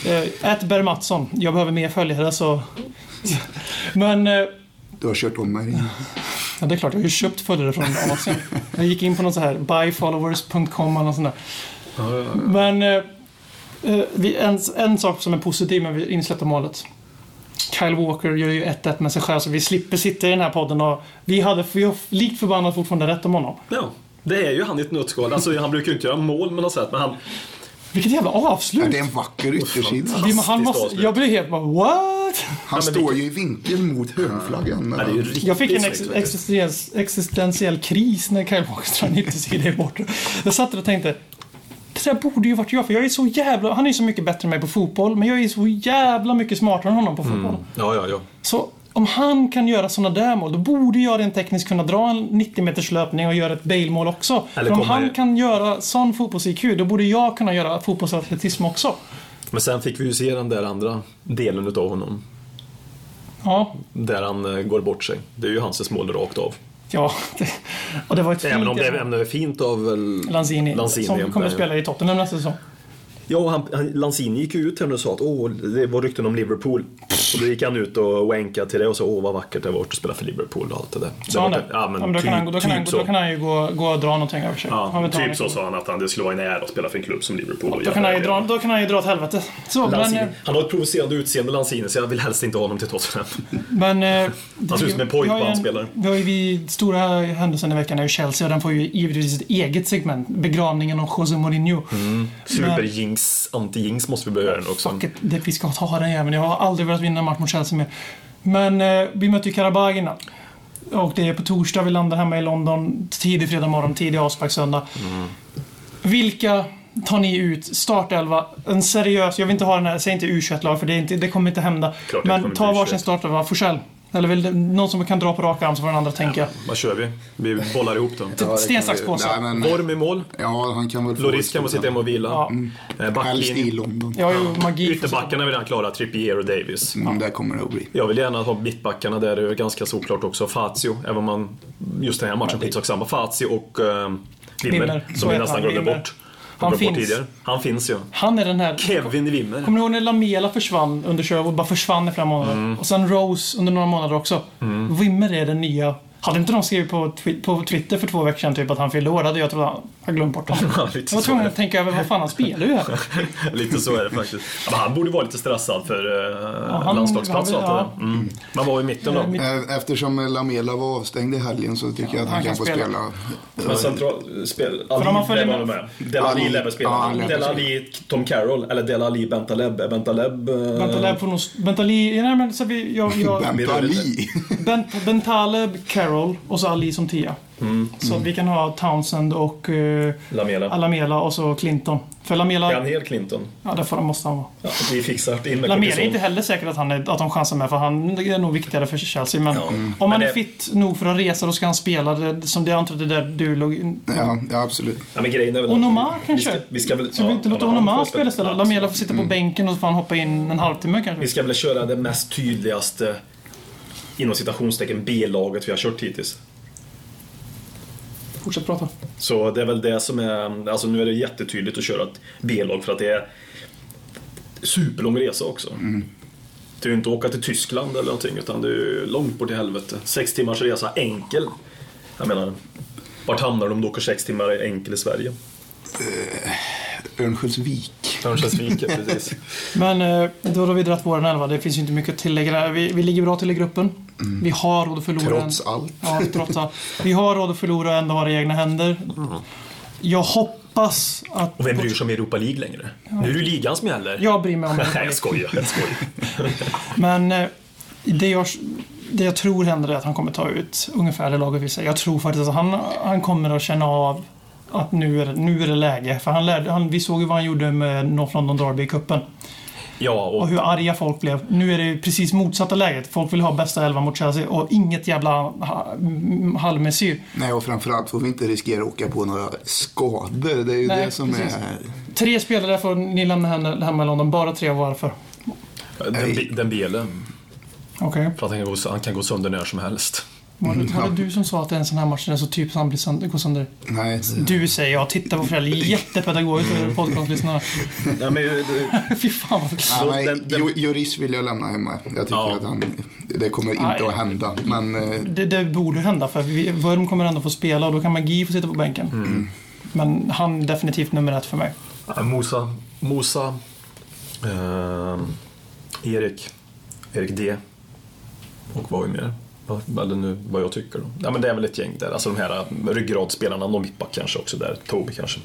[SPEAKER 2] Eh, Ät Berg Mattsson, jag behöver mer följare så... Men, eh,
[SPEAKER 4] Du har kört om mig.
[SPEAKER 2] ja, det är klart jag har ju köpt följare från Asien. Jag gick in på någon så här buyfollowers.com eller något sånt där. Men, eh, Eh, vi, en, en sak som är positiv med det insläppta målet. Kyle Walker gör ju 1-1 med sig själv så vi slipper sitta i den här podden och vi hade vi har likt förbannat fortfarande rätt om honom.
[SPEAKER 3] Ja, det är ju han i ett nötskal. Alltså, han brukar ju inte göra mål med något sätt, men han...
[SPEAKER 2] Vilket jävla
[SPEAKER 4] Ja,
[SPEAKER 2] avslut!
[SPEAKER 4] det är en vacker
[SPEAKER 2] Vi, han
[SPEAKER 4] yttersida.
[SPEAKER 3] fantastiskt
[SPEAKER 2] måste,
[SPEAKER 3] avslut.
[SPEAKER 2] jag blev helt bara what?
[SPEAKER 4] Han står ju i vinkel mot hörnflaggan.
[SPEAKER 3] Ja, det är ju riktigt
[SPEAKER 2] Jag fick en
[SPEAKER 3] snyggt,
[SPEAKER 2] ex-
[SPEAKER 3] faktiskt.
[SPEAKER 2] existens, existentiell kris när Kyle Walker drar en yttersida i bortre. Jag satt där och tänkte det där borde ju varit jag, för jag är så jävla... Han är ju så mycket bättre än mig på fotboll, men jag är så jävla mycket smartare än honom
[SPEAKER 3] Mm.
[SPEAKER 2] på fotboll.
[SPEAKER 3] Ja, ja, ja.
[SPEAKER 2] Så om han kan göra sådana där mål, då borde jag rent tekniskt kunna dra en 90 meters löpning och göra ett Bale-mål också.
[SPEAKER 3] Eller
[SPEAKER 2] För om
[SPEAKER 3] komma
[SPEAKER 2] han
[SPEAKER 3] i-
[SPEAKER 2] kan göra sån fotbolls-IQ, då borde jag kunna göra fotbollsatletism också.
[SPEAKER 3] Men sen fick vi ju se den där andra delen utav honom.
[SPEAKER 2] Ja,
[SPEAKER 3] Där han eh, går bort sig. Det är ju hans mål rakt av.
[SPEAKER 2] ja. Det, och det var ett
[SPEAKER 3] Även om det
[SPEAKER 2] fint-
[SPEAKER 3] även om det är fint av väl...
[SPEAKER 2] Lanzini,
[SPEAKER 3] Lanzini
[SPEAKER 2] som
[SPEAKER 3] egentligen,
[SPEAKER 2] kommer att
[SPEAKER 3] ja.
[SPEAKER 2] spela i Tottenham nästa säsong.
[SPEAKER 3] Ja, och han, han, Lanzini gick ju ut här och sa att åh, det var rykten om Liverpool. Och då gick han ut och wankade till det och sa åh vad vackert det var att spela för Liverpool och allt det där.
[SPEAKER 2] Sa han
[SPEAKER 3] var-
[SPEAKER 2] det?
[SPEAKER 3] Ja, men,
[SPEAKER 2] då,
[SPEAKER 3] typ,
[SPEAKER 2] kan han, gå- då, kan han,
[SPEAKER 3] typ
[SPEAKER 2] gå-
[SPEAKER 3] så.
[SPEAKER 2] då kan han ju gå, gå och dra någonting över sig. Han
[SPEAKER 6] Ja,
[SPEAKER 2] vill ta
[SPEAKER 6] typ så
[SPEAKER 2] någonting.
[SPEAKER 6] sa han att han, det skulle vara en ära att spela för en klubb som Liverpool. och
[SPEAKER 2] Då kan,
[SPEAKER 6] jävla
[SPEAKER 2] han ju dra,
[SPEAKER 6] grejer.
[SPEAKER 2] då kan han ju dra åt helvete. Så, men,
[SPEAKER 3] Lanzini,
[SPEAKER 2] eh,
[SPEAKER 3] han har ett provocerande utseende, Lanzini, så jag vill helst inte ha honom till Tottenham.
[SPEAKER 2] men... eh, det-
[SPEAKER 3] ser ut som en pojk
[SPEAKER 2] vi har ju
[SPEAKER 3] bara han
[SPEAKER 2] en-
[SPEAKER 3] spelar.
[SPEAKER 2] Vi har ju vid stora händelsen i veckan är ju Chelsea och den får ju givetvis ett eget segment. Begravningen av José Mourinho.
[SPEAKER 3] Mm. Super-jinx, anti-jinx måste vi börja göra nu också.
[SPEAKER 2] Fuck it, det, vi ska ta den jäveln. Jag har aldrig velat vinna en match mot Chelsea mer. Men eh, vi mötte ju Karabag innan. Och det är på torsdag vi landar hemma i London. Tidig fredag morgon, tidig avspark söndag.
[SPEAKER 3] Mm.
[SPEAKER 2] Vilka tar ni ut? Startelva. En seriös, jag vill inte ha den här, säg inte U21-lag för det, är inte, det kommer inte hända.
[SPEAKER 3] Klart det
[SPEAKER 2] Men
[SPEAKER 3] kommer
[SPEAKER 2] ta
[SPEAKER 3] bli
[SPEAKER 2] varsin
[SPEAKER 3] 21.
[SPEAKER 2] startelva. Forsell. Eller vill, det- någon som kan dra på rak arm så får den andra tänka.
[SPEAKER 3] Vad kör vi? Vi bollar ihop dem.
[SPEAKER 2] Sten, sax, påse.
[SPEAKER 4] Nej, men-
[SPEAKER 3] Vorm i mål.
[SPEAKER 4] Ja, han kan väl få...
[SPEAKER 3] Loris kan få sitta hemma och vila.
[SPEAKER 2] Ja.
[SPEAKER 3] Eh,
[SPEAKER 4] Helst i
[SPEAKER 3] Backlinjen.
[SPEAKER 4] London.
[SPEAKER 2] Jag har ju magi.
[SPEAKER 3] Ytterbackarna är redan klara, Trippier och Davis.
[SPEAKER 4] Mm, där kommer det att bli.
[SPEAKER 3] Jag vill gärna ha mittbackarna där, det är ganska såklart också. Fazio, även om man just den här matchen skitsak samma. Fazio och eh,
[SPEAKER 2] Wimmer,
[SPEAKER 3] Wimmer,
[SPEAKER 2] så
[SPEAKER 3] som vi
[SPEAKER 2] heter
[SPEAKER 3] nästan
[SPEAKER 2] han,
[SPEAKER 3] glömde
[SPEAKER 2] Wimmer.
[SPEAKER 3] bort.
[SPEAKER 2] Han
[SPEAKER 3] Glömde bort
[SPEAKER 2] finns.
[SPEAKER 3] Tidigare. Han finns ju.
[SPEAKER 2] Han är den här...
[SPEAKER 3] Kevin Wimmer.
[SPEAKER 2] Kommer du ihåg när Lamela försvann under Sherwood? Bara försvann i flera månader.
[SPEAKER 3] Mm.
[SPEAKER 2] Och sen Rose under några månader också. Wimmer är den nya. Hade inte de skrivit på, twi- på Twitter för två veckor sedan typ att han fyllde år? Hade jag trott att han glömt bort honom.
[SPEAKER 3] Ja,
[SPEAKER 2] jag
[SPEAKER 3] lite
[SPEAKER 2] var
[SPEAKER 3] så
[SPEAKER 2] tvungen
[SPEAKER 3] är
[SPEAKER 2] att tänka över vad fan han spelar ju här.
[SPEAKER 3] Lite så är det faktiskt. Ja, men han borde vara lite stressad för eh,
[SPEAKER 2] han-
[SPEAKER 3] landslagsplats och
[SPEAKER 2] han-
[SPEAKER 3] allt det där. mm. Man var i mitten då.
[SPEAKER 2] Eh, mitt-
[SPEAKER 4] Eh, Eftersom Lamela var avstängd i helgen så tycker jag att han,
[SPEAKER 2] han kan
[SPEAKER 4] kan, få
[SPEAKER 2] spela.
[SPEAKER 4] spela.
[SPEAKER 3] Men central... Spel,
[SPEAKER 2] om man
[SPEAKER 3] Ali
[SPEAKER 2] följer
[SPEAKER 3] lär
[SPEAKER 2] med-
[SPEAKER 3] vara med. Delali
[SPEAKER 4] Ali-
[SPEAKER 3] lär väl
[SPEAKER 4] ja,
[SPEAKER 3] spela.
[SPEAKER 4] han lär väl
[SPEAKER 3] Delali, Tom Carroll eller Delali Bentaleb. Är Bentaleb... eh,
[SPEAKER 2] Bentaleb får nog... Bentaleb... Nej men så vi... Jag, jag,
[SPEAKER 4] Bent Ali.
[SPEAKER 2] Bent, Bentaleb, Carroll och så Ali som tia.
[SPEAKER 3] Mm.
[SPEAKER 2] Så vi kan ha Townsend och eh,
[SPEAKER 3] Lamela.
[SPEAKER 2] Alamela och så Clinton. För Lamela...
[SPEAKER 3] Är han hel Clinton?
[SPEAKER 2] Ja, det får han, måste han vara.
[SPEAKER 3] Ja, vi fixar in med
[SPEAKER 2] Lamela är
[SPEAKER 3] kortison.
[SPEAKER 2] inte heller säkert att, han är, att de chansar med för han är nog viktigare för Chelsea. Men om han
[SPEAKER 3] Mm. Men
[SPEAKER 2] är
[SPEAKER 3] det-
[SPEAKER 2] fit nog för att resa då ska han spela. Det, som det jag antar att det där du låg in.
[SPEAKER 4] Ja, ja, absolut.
[SPEAKER 3] Ja, men grejen är väl
[SPEAKER 2] Onoma
[SPEAKER 3] Mm. vi
[SPEAKER 2] kanske?
[SPEAKER 3] Ska, vi ska väl,
[SPEAKER 2] Så vi
[SPEAKER 3] ja,
[SPEAKER 2] inte låter
[SPEAKER 3] Onoma
[SPEAKER 2] honom
[SPEAKER 3] får
[SPEAKER 2] spela istället.
[SPEAKER 3] plats.
[SPEAKER 2] Lamela får sitta på bänken och så får han hoppa in en halvtimme kanske.
[SPEAKER 3] Vi ska väl köra det mest tydligaste inom citationstecken B-laget vi har kört hittills.
[SPEAKER 2] Fortsätt prata.
[SPEAKER 3] Så det är väl det som är, alltså nu är det jättetydligt att köra ett B-lag för att det är superlång resa också. Det är ju inte att åka till Tyskland eller någonting utan det är ju långt bort i helvete. Sex timmars resa enkel. Jag menar, vart hamnar de om du åker sex timmar enkel i Sverige?
[SPEAKER 4] Örnsköldsvik.
[SPEAKER 3] Örnsköldsvik, precis.
[SPEAKER 2] Men eh, då har vi dragit våran elva. Det finns ju inte mycket att tillägga där. Vi, vi ligger bra till i gruppen.
[SPEAKER 3] Mm.
[SPEAKER 2] Vi har råd att förlora. en-
[SPEAKER 4] Trots allt.
[SPEAKER 2] Ja, trots allt. Vi har råd att förlora en dag i egna händer. Jag hoppas att...
[SPEAKER 3] Mm. Och vem bryr sig om Europa League längre? Nu är det ju ligan som gäller.
[SPEAKER 2] Jag bryr mig om
[SPEAKER 3] Nej, jag skojar. Jag skojar.
[SPEAKER 2] Men eh, det jag, det jag tror händer är att han kommer ta ut ungefär det laget vi säger. Jag tror faktiskt att han, han kommer att känna av att nu är, det- nu är det läge. För han lärde, han, vi såg ju vad han gjorde med North London Derby i cupen.
[SPEAKER 3] Ja,
[SPEAKER 2] Och
[SPEAKER 3] och
[SPEAKER 2] hur arga folk blev. Nu är det ju precis motsatta läget. Folk vill ha bästa elva mot Chelsea och inget jävla ha, m- halvmesyr.
[SPEAKER 4] Nej, och framförallt får vi inte riskera att åka på några skador. Det är ju
[SPEAKER 2] Nej,
[SPEAKER 4] det som
[SPEAKER 2] precis.
[SPEAKER 4] är...
[SPEAKER 2] Tre spelare får ni lämna henne- hemma i London. Bara tre varför?
[SPEAKER 3] den, den bilen.
[SPEAKER 2] Okej.
[SPEAKER 3] För att han kan, gå, han kan gå sönder när som helst.
[SPEAKER 2] Var, det- var det du som sa att det är en sån här match där det är så typ han blir sönder, går sönder?
[SPEAKER 4] Nej,
[SPEAKER 3] Mm.
[SPEAKER 2] Du säger jag, titta på föräldrar. Jättepedagogiskt för podcastlyssnarna.
[SPEAKER 3] Ja, men,
[SPEAKER 2] Fy fan vad...
[SPEAKER 4] Nej,
[SPEAKER 3] den- den-
[SPEAKER 4] ju- Juris vill jag lämna hemma. Jag tycker
[SPEAKER 3] Ja.
[SPEAKER 4] att han, det kommer inte
[SPEAKER 2] Nej.
[SPEAKER 4] att hända. Men eh,
[SPEAKER 2] Det, det borde hända för vi,
[SPEAKER 3] Mm.
[SPEAKER 2] Vurm kommer ändå få spela och då kan Magi få sitta på bänken. Men han är definitivt nummer ett för mig.
[SPEAKER 3] Ja, Eh, Mosa, Mosa eh, Erik, Erik D och vad är mer? Vad- Eller nu vad jag tycker då. Ja, men det är väl ett gäng där. Alltså de här eh, ryggradspelarna, Nobippa kanske också där. Toby kanske.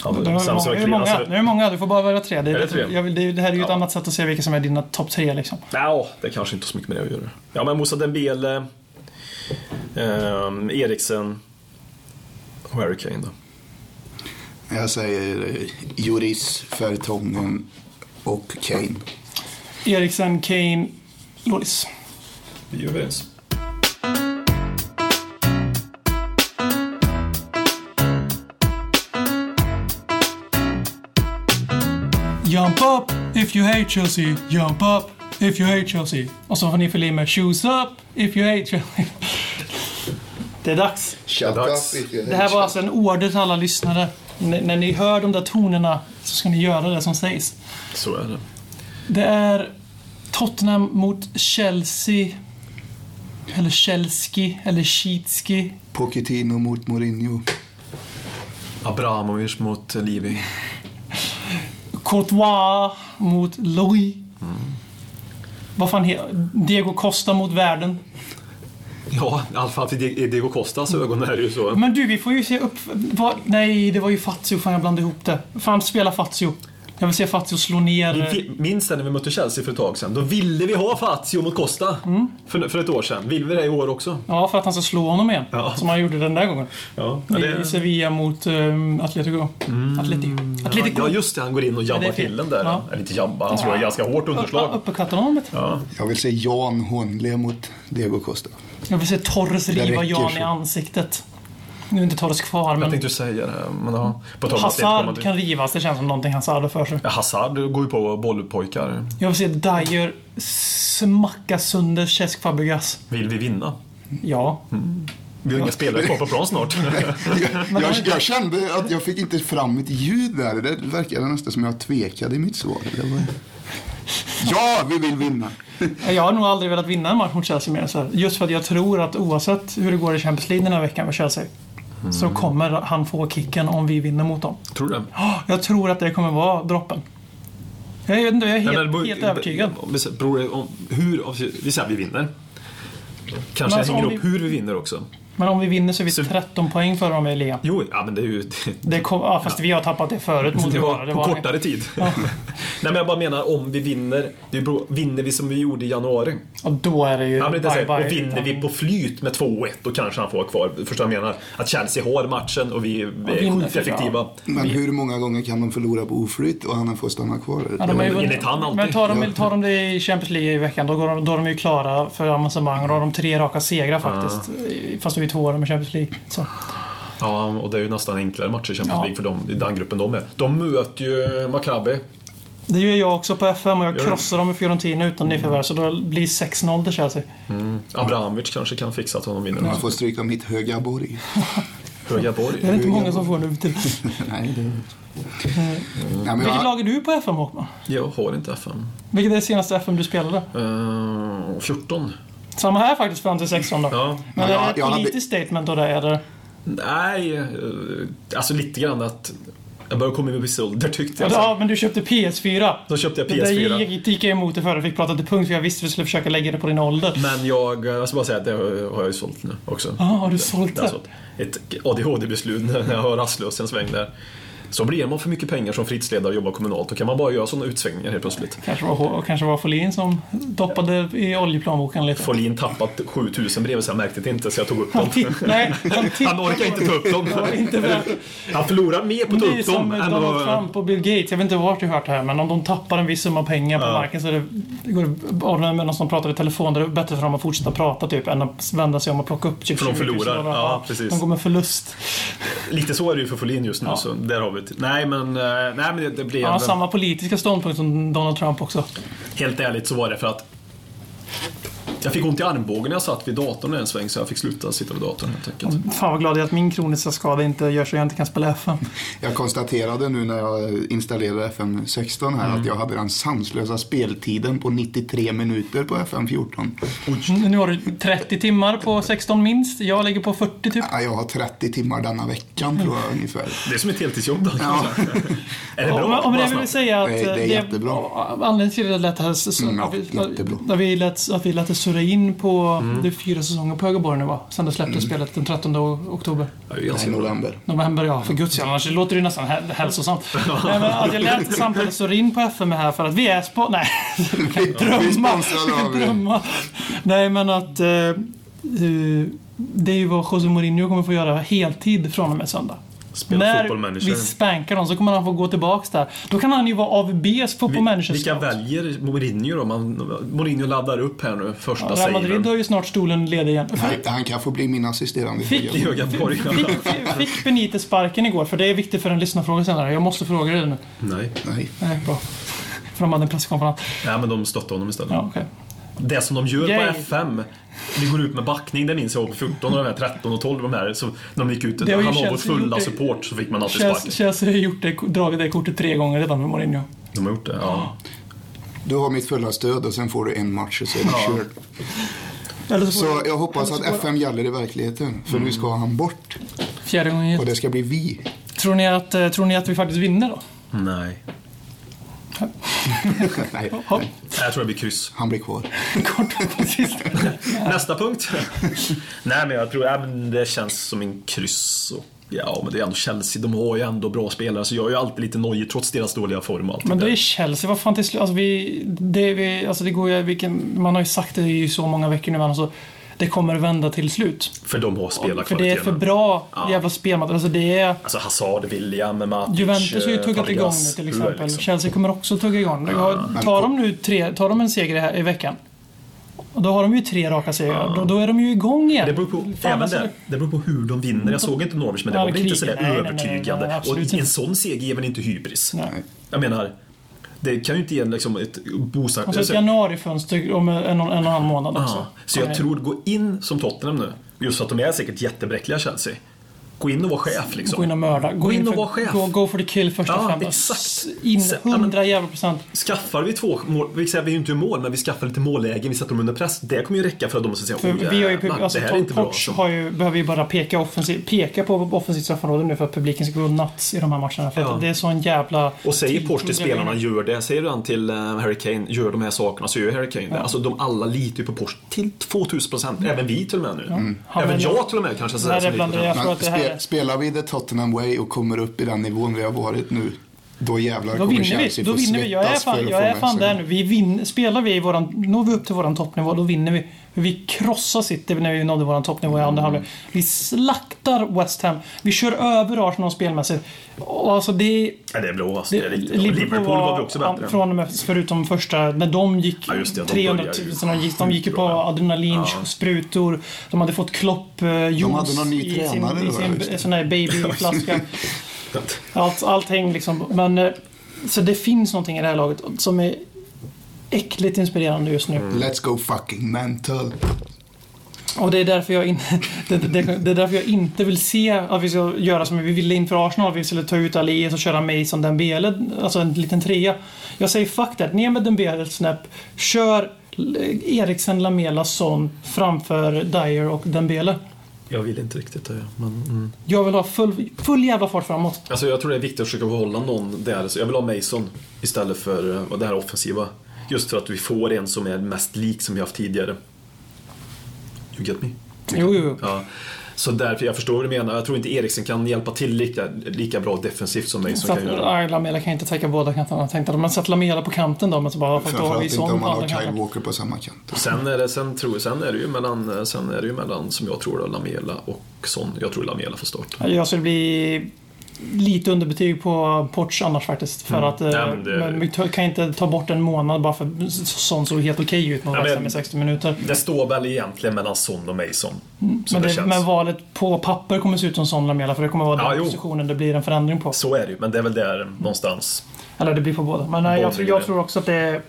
[SPEAKER 3] Han,
[SPEAKER 2] Det
[SPEAKER 3] sen så
[SPEAKER 2] är,
[SPEAKER 3] verkligen,
[SPEAKER 2] många,
[SPEAKER 3] alltså-
[SPEAKER 2] nu är det många, du får bara välja tre. Det, är
[SPEAKER 3] Är det
[SPEAKER 2] lite-
[SPEAKER 3] tre?
[SPEAKER 2] Jag vill, det, är- det här är ju ett
[SPEAKER 3] Ja.
[SPEAKER 2] annat sätt att se vilka som är dina topp tre liksom.
[SPEAKER 3] Nja, det kanske inte har så mycket med det att göra. Ja, men Moussa Dembele, ehm, Eriksen och Harry Kane då.
[SPEAKER 4] Jag säger eh, Juris, Vertonghen och Kane.
[SPEAKER 2] Eriksen, Kane, Loris.
[SPEAKER 3] Vi är överens.
[SPEAKER 2] Jump up if you hate Chelsea. Jump up if you hate Chelsea. Och så får ni fylla i med Shoes up if you hate Chelsea. Det är dags.
[SPEAKER 4] Shut
[SPEAKER 3] Dags.
[SPEAKER 2] Det här var alltså en order till alla lyssnare. N- när ni hör de där tonerna så ska ni göra det som sägs.
[SPEAKER 3] Så är det.
[SPEAKER 2] Det är Tottenham mot Chelsea. Eller Chelsea, eller Sheetski.
[SPEAKER 4] Pochettino mot Mourinho.
[SPEAKER 3] Abramovic mot Livi.
[SPEAKER 2] Courtois mot Louis. Vad fan he- Diego Costa mot världen.
[SPEAKER 3] Ja, i alla fall i Diego Costas ögon är det ju så.
[SPEAKER 2] Men du, vi får ju se upp... Vad- nej, det var ju Fazio. Fan, jag blandade ihop det. Fan, spela Fazio. Jag vill se Fazio slå ner...
[SPEAKER 3] Vi- Minns det när vi mötte Chelsea för ett tag sedan? Då ville vi ha Fazio mot Costa. För, för ett år sedan. Vill vi det i år också?
[SPEAKER 2] Ja, för att han ska slå honom igen.
[SPEAKER 3] Ja.
[SPEAKER 2] Som han gjorde den där gången.
[SPEAKER 3] Ja,
[SPEAKER 2] I,
[SPEAKER 3] det- Mm.
[SPEAKER 2] i Sevilla mot um, Atletico. Atleti. Atletico.
[SPEAKER 3] ja just det. Han går in och
[SPEAKER 2] det är
[SPEAKER 3] jabbar
[SPEAKER 2] fel.
[SPEAKER 3] till den där.
[SPEAKER 2] Ja.
[SPEAKER 3] Eller inte jabbar, han slår ett ganska hårt underslag.
[SPEAKER 2] Uppercutten honom vet du.
[SPEAKER 4] Jag vill säga Jan Hånle mot Diego Costa.
[SPEAKER 2] Jag vill se Torres riva
[SPEAKER 4] räcker
[SPEAKER 2] Jan
[SPEAKER 4] så.
[SPEAKER 2] i ansiktet. Nu är inte Torres kvar,
[SPEAKER 3] Jag
[SPEAKER 2] men
[SPEAKER 3] tänkte ju säga det. Men, ja. på tal om att det kommer
[SPEAKER 2] Hazard
[SPEAKER 3] till-
[SPEAKER 2] kan rivas. Det känns som någonting Hazard har för sig.
[SPEAKER 3] Ja, Hazard går ju på bollpojkar.
[SPEAKER 2] Jag vill se Dyer smacka sönder Cesc Fabregas.
[SPEAKER 3] Vill vi vinna?
[SPEAKER 2] Ja.
[SPEAKER 3] Mm. Vi har inga spelare kvar på plan snart.
[SPEAKER 4] Jag, jag, jag kände att jag fick inte fram mitt ljud där. Det verkade nästan som jag tvekade i mitt svar. Det var... Ja, vi vill vinna!
[SPEAKER 2] Jag har nog aldrig velat vinna en match mot Chelsea mer än så här. Just för att jag tror att oavsett hur det går i Champions League den här veckan med Chelsea. Så
[SPEAKER 3] Mm.
[SPEAKER 2] kommer han få kicken om vi vinner mot dem.
[SPEAKER 3] Tror du det?
[SPEAKER 2] Åh, Ah, Jag tror att det kommer vara droppen. Jag vet inte, jag är helt,
[SPEAKER 3] Nej, men det beror-
[SPEAKER 2] helt övertygad.
[SPEAKER 3] om vi säger- Beror det om hur, om vi- vi säger att vi vinner. Kanske
[SPEAKER 2] alltså,
[SPEAKER 3] hänger
[SPEAKER 2] om
[SPEAKER 3] upp
[SPEAKER 2] vi-
[SPEAKER 3] hur vi vinner också.
[SPEAKER 2] Men om vi vinner så är vi
[SPEAKER 3] Så-
[SPEAKER 2] 13 poäng före dem i ligan.
[SPEAKER 3] Jo, ja men det är ju...
[SPEAKER 2] Det kom, ja, fast vi har tappat det förut mot
[SPEAKER 3] Det
[SPEAKER 2] Vara.
[SPEAKER 3] var
[SPEAKER 2] Det
[SPEAKER 3] på
[SPEAKER 2] var
[SPEAKER 3] kortare tid. Nej men jag bara menar om vi vinner. Det beror, vinner vi som vi gjorde i januari?
[SPEAKER 2] Och då är det ju...
[SPEAKER 3] Ja, men det är så här,
[SPEAKER 2] bye-bye.
[SPEAKER 3] och vinner vi på flyt med 2-1 då kanske han får vara kvar. Förstår du vad jag menar? Att Chelsea har matchen och vi är
[SPEAKER 2] vinner,
[SPEAKER 3] sjukt effektiva.
[SPEAKER 4] Men hur många gånger kan de förlora på oflyt och han får stanna kvar?
[SPEAKER 2] Ja, de är ju
[SPEAKER 3] Enligt han alltid.
[SPEAKER 2] Men tar de, tar de det i Champions League i veckan, då, går de, då är de ju klara för avancemang. och Då har de tre raka segrar faktiskt. Fast vi är två år med Champions League. Så.
[SPEAKER 3] Ja, och det är ju nästan enklare matcher i Champions
[SPEAKER 2] Ja.
[SPEAKER 3] League för dem, i den gruppen de är. De möter ju Maccabi.
[SPEAKER 2] Det gör jag också på FM och jag
[SPEAKER 3] Gör du?
[SPEAKER 2] krossar dem i Fiorentina utan nyförvärv. Så då blir det 6-0 till Chelsea.
[SPEAKER 3] Abramovic kanske kan fixa att honom vinner.
[SPEAKER 4] Man får stryka mitt höga borg.
[SPEAKER 3] Höga Borg.
[SPEAKER 2] Det är det inte många som får nu till.
[SPEAKER 4] Nej, det... Nej, men
[SPEAKER 2] Vilket
[SPEAKER 4] jag,
[SPEAKER 2] lag är du på FM Håkman?
[SPEAKER 3] Jag har inte FM.
[SPEAKER 2] Vilket är det senaste FM du spelade?
[SPEAKER 3] Eh, 14?
[SPEAKER 2] Samma här faktiskt fram till 16 då.
[SPEAKER 3] Ja.
[SPEAKER 2] Men
[SPEAKER 4] Ja,
[SPEAKER 2] är det
[SPEAKER 4] jag-
[SPEAKER 2] ett
[SPEAKER 4] jag hade-
[SPEAKER 2] politiskt statement av det? Eller?
[SPEAKER 3] Nej, eh, alltså lite grann att jag börjar komma in i viss ålder tyckte jag.
[SPEAKER 2] Ja, men du köpte PS4.
[SPEAKER 3] alltså- Då köpte jag
[SPEAKER 2] Det där
[SPEAKER 3] PS4.
[SPEAKER 2] gick, gick jag emot det för. Jag fick prata till punkt för jag visste att du skulle försöka lägga det på din ålder.
[SPEAKER 3] Men jag, eh, jag ska bara säga att det har jag ju sålt nu också.
[SPEAKER 2] Ja, har du sålt
[SPEAKER 3] Det
[SPEAKER 2] det?
[SPEAKER 3] är alltså ett ADHD-beslut när jag har rastlös en sväng där. Så blir man för mycket pengar som fritidsledare och jobbar kommunalt, då kan man bara göra sådana utsvängningar helt plötsligt.
[SPEAKER 2] Kanske var, H- kanske var Folin som doppade i oljeplanboken lite.
[SPEAKER 3] Folin tappat 7000 brev så jag märkte det inte så jag tog upp dem.
[SPEAKER 2] Han titt, nej, han
[SPEAKER 3] Han orkar inte ta upp dem.
[SPEAKER 2] inte värt.
[SPEAKER 3] Han förlorar mer på att
[SPEAKER 2] Det
[SPEAKER 3] ta
[SPEAKER 2] är
[SPEAKER 3] upp
[SPEAKER 2] som
[SPEAKER 3] dem
[SPEAKER 2] med
[SPEAKER 3] än
[SPEAKER 2] Donald
[SPEAKER 3] vad...
[SPEAKER 2] Trump och Bill Gates. Jag vet inte vart du hört det här, men om de tappar en viss summa pengar på marken så är det, det går att ordna med någon som pratar i telefon. Där det är bättre för dem att fortsätta prata typ, än att vända sig om och plocka upp typ
[SPEAKER 3] För de
[SPEAKER 2] 20 000
[SPEAKER 3] förlorar.
[SPEAKER 2] dollar.
[SPEAKER 3] Ja, precis.
[SPEAKER 2] De går med förlust.
[SPEAKER 3] Lite så är det ju för Folin just nu, så där har vi det. Nej men, eh, nej, men det, det blir...
[SPEAKER 2] Han har
[SPEAKER 3] en-
[SPEAKER 2] samma politiska ståndpunkt som Donald Trump också.
[SPEAKER 3] Helt ärligt så var det för att Jag fick ont i armbågen när jag satt vid datorn en sväng så jag fick sluta sitta vid datorn helt enkelt.
[SPEAKER 2] Fan vad glad jag är att min kroniska skada inte gör så jag inte kan spela FM.
[SPEAKER 4] Jag konstaterade nu när jag installerade FM16 här att jag hade den sanslösa speltiden på 93 minuter på FM14.
[SPEAKER 2] Nu har du 30 timmar på 16 minst. Jag ligger på 40 typ.
[SPEAKER 4] Ja, jag har 30 timmar denna veckan tror jag ungefär.
[SPEAKER 3] Det är som ett heltidsjobb. Då.
[SPEAKER 4] Ja.
[SPEAKER 3] Är det
[SPEAKER 2] Om,
[SPEAKER 3] bra?
[SPEAKER 2] om
[SPEAKER 3] Bara
[SPEAKER 2] det vill
[SPEAKER 3] snabbt.
[SPEAKER 2] vi säga att...
[SPEAKER 4] Det är- det är
[SPEAKER 2] eh,
[SPEAKER 4] jättebra.
[SPEAKER 2] Anledningen till det lät det här... Så,
[SPEAKER 4] Mm, ja,
[SPEAKER 2] att, vi,
[SPEAKER 4] jättebra.
[SPEAKER 2] att, vi lät, att vi lät det surra in på
[SPEAKER 3] Mm.
[SPEAKER 2] de fyra säsonger på Ögaborg nu va? Sen det
[SPEAKER 4] Mm.
[SPEAKER 2] släpptes spelet den 13 oktober.
[SPEAKER 3] Ja, det är
[SPEAKER 4] I
[SPEAKER 3] ganska bra.
[SPEAKER 4] november.
[SPEAKER 2] November, ja. För guds skull, annars låter det ju nästan häl- hälsosamt. Nej, men att jag lät samtalet surra in på FM här för att vi är spo- Nej,
[SPEAKER 4] Vi är sponsrade av er.
[SPEAKER 2] drömma. Nej, men att... Eh, eh, det är ju vad José Mourinho kommer få göra heltid från och med söndag.
[SPEAKER 3] Spela
[SPEAKER 2] När
[SPEAKER 3] fotboll manager.
[SPEAKER 2] vi spankar dem så kommer han få gå tillbaks där. Då kan han ju vara AVBs
[SPEAKER 3] Vi-
[SPEAKER 2] football manager
[SPEAKER 3] Vilka väljer Mourinho då? Man, Mourinho laddar upp här nu, första
[SPEAKER 2] Real Madrid
[SPEAKER 3] saven.
[SPEAKER 2] har ju snart stolen ledig igen.
[SPEAKER 4] Nej, Han kan få bli min assisterande.
[SPEAKER 2] Fick-
[SPEAKER 3] I Ögaborg.
[SPEAKER 2] Fick, fick Benitez sparken igår? För det är viktigt för en lyssnarfråga senare. Jag måste fråga dig nu.
[SPEAKER 3] Nej.
[SPEAKER 4] Nej.
[SPEAKER 2] Nej, bra. För de hade en presskonferens.
[SPEAKER 3] Nej, men de stöttar honom istället.
[SPEAKER 2] Ja, okej.
[SPEAKER 3] Det som de gör
[SPEAKER 2] Yay.
[SPEAKER 3] på FM, vi går ut med backning, det minns jag på 14 och de här 13 och 12 de här, så när de gick ut,
[SPEAKER 2] Det har ju
[SPEAKER 3] han var vår
[SPEAKER 2] känts- gjort
[SPEAKER 3] fulla
[SPEAKER 2] det-
[SPEAKER 3] support så fick man alltid
[SPEAKER 2] Chelsea-
[SPEAKER 3] sparken.
[SPEAKER 2] Chelsea har gjort det, dragit det kortet tre gånger redan med Mourinho.
[SPEAKER 3] De har gjort det, ja.
[SPEAKER 4] Du har mitt fulla stöd och sen får du en match och så är
[SPEAKER 3] Ja.
[SPEAKER 4] det kört.
[SPEAKER 2] Eller så
[SPEAKER 4] Så
[SPEAKER 2] får
[SPEAKER 4] jag hoppas
[SPEAKER 2] Alltså,
[SPEAKER 4] att FM gäller i verkligheten. För nu ska han bort.
[SPEAKER 2] fjärde gången
[SPEAKER 4] Och
[SPEAKER 2] gillt.
[SPEAKER 4] det ska bli vi.
[SPEAKER 2] tror, ni att, eh, tror ni att vi faktiskt vinner då?
[SPEAKER 3] Nej.
[SPEAKER 4] Nej,
[SPEAKER 2] Hopp.
[SPEAKER 3] Jag tror det blir kryss.
[SPEAKER 4] han blir kvar.
[SPEAKER 2] Kort på sista.
[SPEAKER 3] Nästa punkt. Nej, men jag tror, ja, men det känns som en kryss. Och, ja, men det är ändå Chelsea, de har ju ändå bra spelare, så jag är ju alltid lite nojig trots deras dåliga form och allt
[SPEAKER 2] Men
[SPEAKER 3] det
[SPEAKER 2] det är
[SPEAKER 3] där.
[SPEAKER 2] Chelsea, vad fan till slut, alltså vi, det, vi, alltså det går ju, vilken, man har ju sagt det i så många veckor nu, men alltså, det kommer vända till slut.
[SPEAKER 3] För de har
[SPEAKER 2] För det är
[SPEAKER 3] spelarkvaliteten.
[SPEAKER 2] för bra
[SPEAKER 3] Ja.
[SPEAKER 2] jävla spelmaterial. Alltså det är,
[SPEAKER 3] Alltså Hazard, William, Matic,
[SPEAKER 2] Juventus har ju
[SPEAKER 3] eh,
[SPEAKER 2] tuggat igång nu
[SPEAKER 3] Fabregas,
[SPEAKER 2] till
[SPEAKER 3] hur är det
[SPEAKER 2] exempel.
[SPEAKER 3] liksom?
[SPEAKER 2] Chelsea kommer också tugga igång. Har- Tar de nu tre, tar de en seger här i veckan, och då har de ju tre raka segrar. Då, då är de ju igång igen.
[SPEAKER 3] Det beror, på,
[SPEAKER 2] Fan,
[SPEAKER 3] även
[SPEAKER 2] alltså,
[SPEAKER 3] där, det beror på hur de vinner. Jag såg inte Norwich, men det
[SPEAKER 2] Ja,
[SPEAKER 3] var väl
[SPEAKER 2] krig.
[SPEAKER 3] inte sådär
[SPEAKER 2] Nej, nej, nej,
[SPEAKER 3] övertygande.
[SPEAKER 2] nej, nej, absolut
[SPEAKER 3] och
[SPEAKER 2] inte.
[SPEAKER 3] en sån seger ger väl inte hybris?
[SPEAKER 2] Nej.
[SPEAKER 3] Jag menar, det kan ju inte ge en, liksom, ett boostat...
[SPEAKER 2] Och så ett
[SPEAKER 3] alltså-
[SPEAKER 2] januarifönster om en, en, och en och en halv månad också.
[SPEAKER 3] Ja, så jag
[SPEAKER 2] Nej.
[SPEAKER 3] tror, gå in som Tottenham nu, just för att de är säkert jättebräckliga Chelsea. Gå in och var chef liksom.
[SPEAKER 2] Gå in och mörda. Gå,
[SPEAKER 3] Gå in och
[SPEAKER 2] för-
[SPEAKER 3] var chef.
[SPEAKER 2] Go, go for the kill första
[SPEAKER 3] Ja,
[SPEAKER 2] femman.
[SPEAKER 3] exakt.
[SPEAKER 2] S- In
[SPEAKER 3] Se- ja, men-
[SPEAKER 2] hundra jävla procent.
[SPEAKER 3] Skaffar vi två mål, vi säger vi är ju inte i mål, men vi skaffar lite mållägen, vi sätter dem under press. Det kommer ju räcka för att de ska säga
[SPEAKER 2] För
[SPEAKER 3] "Oh,
[SPEAKER 2] vi har ju,
[SPEAKER 3] jävlar,
[SPEAKER 2] pub- alltså,
[SPEAKER 3] det här är inte bra.
[SPEAKER 2] Torch
[SPEAKER 3] Så-
[SPEAKER 2] har ju, behöver ju bara peka, offensiv, peka på offensivt straffområde nu för att publiken ska gå nuts i de här matcherna. För
[SPEAKER 3] Ja.
[SPEAKER 2] att det är sån jävla...
[SPEAKER 3] Och säger Porsche till
[SPEAKER 2] tilltro till
[SPEAKER 3] spelarna, gör det. Säger han till eh, Harry Kane, gör de här sakerna, så gör Harry Kane det. Alltså de alla litar ju på Porsche till 2000 procent. Även vi till och med nu.
[SPEAKER 2] Mm.
[SPEAKER 3] Mm.
[SPEAKER 2] Han
[SPEAKER 3] Även
[SPEAKER 2] väljer-
[SPEAKER 3] jag till och med kanske. Så
[SPEAKER 2] Nej,
[SPEAKER 3] här,
[SPEAKER 2] det
[SPEAKER 3] som litar
[SPEAKER 2] blandar
[SPEAKER 3] på den.
[SPEAKER 2] jag tror
[SPEAKER 4] Men
[SPEAKER 2] att det här
[SPEAKER 4] spe,
[SPEAKER 2] är...
[SPEAKER 4] spelar vi The Tottenham Way och kommer upp i den nivån vi har varit nu. Då jävlar
[SPEAKER 2] Då
[SPEAKER 4] kommer
[SPEAKER 2] vinner vi.
[SPEAKER 4] Chelsea
[SPEAKER 2] Då
[SPEAKER 4] få
[SPEAKER 2] vinner vi. Jag är
[SPEAKER 4] svettas för
[SPEAKER 2] fan,
[SPEAKER 4] att
[SPEAKER 2] jag
[SPEAKER 4] få
[SPEAKER 2] är
[SPEAKER 4] med
[SPEAKER 2] fan
[SPEAKER 4] sig.
[SPEAKER 2] där nu. Vi vin, spelar vi i våran, når vi upp till våran toppnivå, då vinner vi. Vi krossar City när vi nådde våran toppnivå i andra halvlek. Vi slaktar West Ham. Vi kör över Arsenal spelmässigt. Och Alltså det...
[SPEAKER 3] Ja, det är blå alltså.
[SPEAKER 2] det
[SPEAKER 3] Det är riktigt. Liverpool, Liverpool var vi också
[SPEAKER 2] ja,
[SPEAKER 3] bättre.
[SPEAKER 2] Från och med, förutom första, när de gick
[SPEAKER 3] Ja, just det, de
[SPEAKER 2] 300
[SPEAKER 3] började ju.
[SPEAKER 2] 000. De gick, de gick ju på
[SPEAKER 3] Bra.
[SPEAKER 2] adrenalin, sprutor. De hade fått Klopp, eh, Jones
[SPEAKER 4] hade någon ny
[SPEAKER 2] i sin,
[SPEAKER 4] tränare
[SPEAKER 2] i
[SPEAKER 4] då,
[SPEAKER 2] sin
[SPEAKER 4] just det.
[SPEAKER 2] sån här babyflaska. Allt, allting liksom. Men, eh, så det finns någonting i det här laget som är äckligt inspirerande just
[SPEAKER 3] Mm.
[SPEAKER 2] nu.
[SPEAKER 4] Let's go fucking mental.
[SPEAKER 2] Och det är, därför jag in, det, det, det är därför jag inte vill se att vi ska göra som vi ville inför Arsenal. Vi skulle ta ut Ali och så köra Mason Dembele, alltså en liten trea. Jag säger fuck that, ner med Dembele ett snäpp. Kör Eriksen, Lamela, Son framför Dyer och Dembele.
[SPEAKER 3] Jag vill inte riktigt det. Men, mm.
[SPEAKER 2] Jag vill ha full, full jävla fart framåt.
[SPEAKER 3] Alltså jag tror det är viktigt att försöka behålla någon där. Så jag vill ha Mason istället för eh, det här offensiva. Just för att vi får en som är mest lik som vi haft tidigare. You get me?
[SPEAKER 2] Jo, jo, jo.
[SPEAKER 3] Ja. Så därför, jag förstår vad du menar. Jag tror inte Eriksen kan hjälpa till lika, lika bra defensivt som mig
[SPEAKER 2] Så
[SPEAKER 3] som
[SPEAKER 2] att,
[SPEAKER 3] kan göra.
[SPEAKER 2] nej, Lamela kan inte täcka båda kanterna. Jag tänkte att man sätter Lamela på kanten då, men så bara, för då har
[SPEAKER 4] Framförallt
[SPEAKER 2] vi
[SPEAKER 4] inte om
[SPEAKER 2] sån på
[SPEAKER 4] man
[SPEAKER 2] andra
[SPEAKER 4] har Kyle
[SPEAKER 2] kanten.
[SPEAKER 4] Walker på samma kant.
[SPEAKER 3] Sen är, det, sen, tror, sen är det ju mellan, sen är det ju mellan som jag tror, då, Lamela och Son. Jag tror Lamela får start.
[SPEAKER 2] Jag skulle bli lite underbetyg på Porch annars faktiskt. För att eh,
[SPEAKER 3] Nej, Mm. men det-
[SPEAKER 2] men vi t- kan inte ta bort en månad bara för sånt såg helt okej ut mot
[SPEAKER 3] Ja, men-
[SPEAKER 2] West Ham i 60 minuter.
[SPEAKER 3] Det står väl egentligen mellan Son och Mason. Som
[SPEAKER 2] Men,
[SPEAKER 3] det,
[SPEAKER 2] det,
[SPEAKER 3] känns.
[SPEAKER 2] men valet på papper kommer se ut som sån Lamela för det kommer vara
[SPEAKER 3] Ja,
[SPEAKER 2] den
[SPEAKER 3] jo.
[SPEAKER 2] positionen det blir en förändring på.
[SPEAKER 3] Så är det ju, men det är väl där någonstans.
[SPEAKER 2] Eller det blir på båda. Men eh,
[SPEAKER 3] Båda
[SPEAKER 2] jag, tror, jag
[SPEAKER 3] blir
[SPEAKER 2] tror också att det är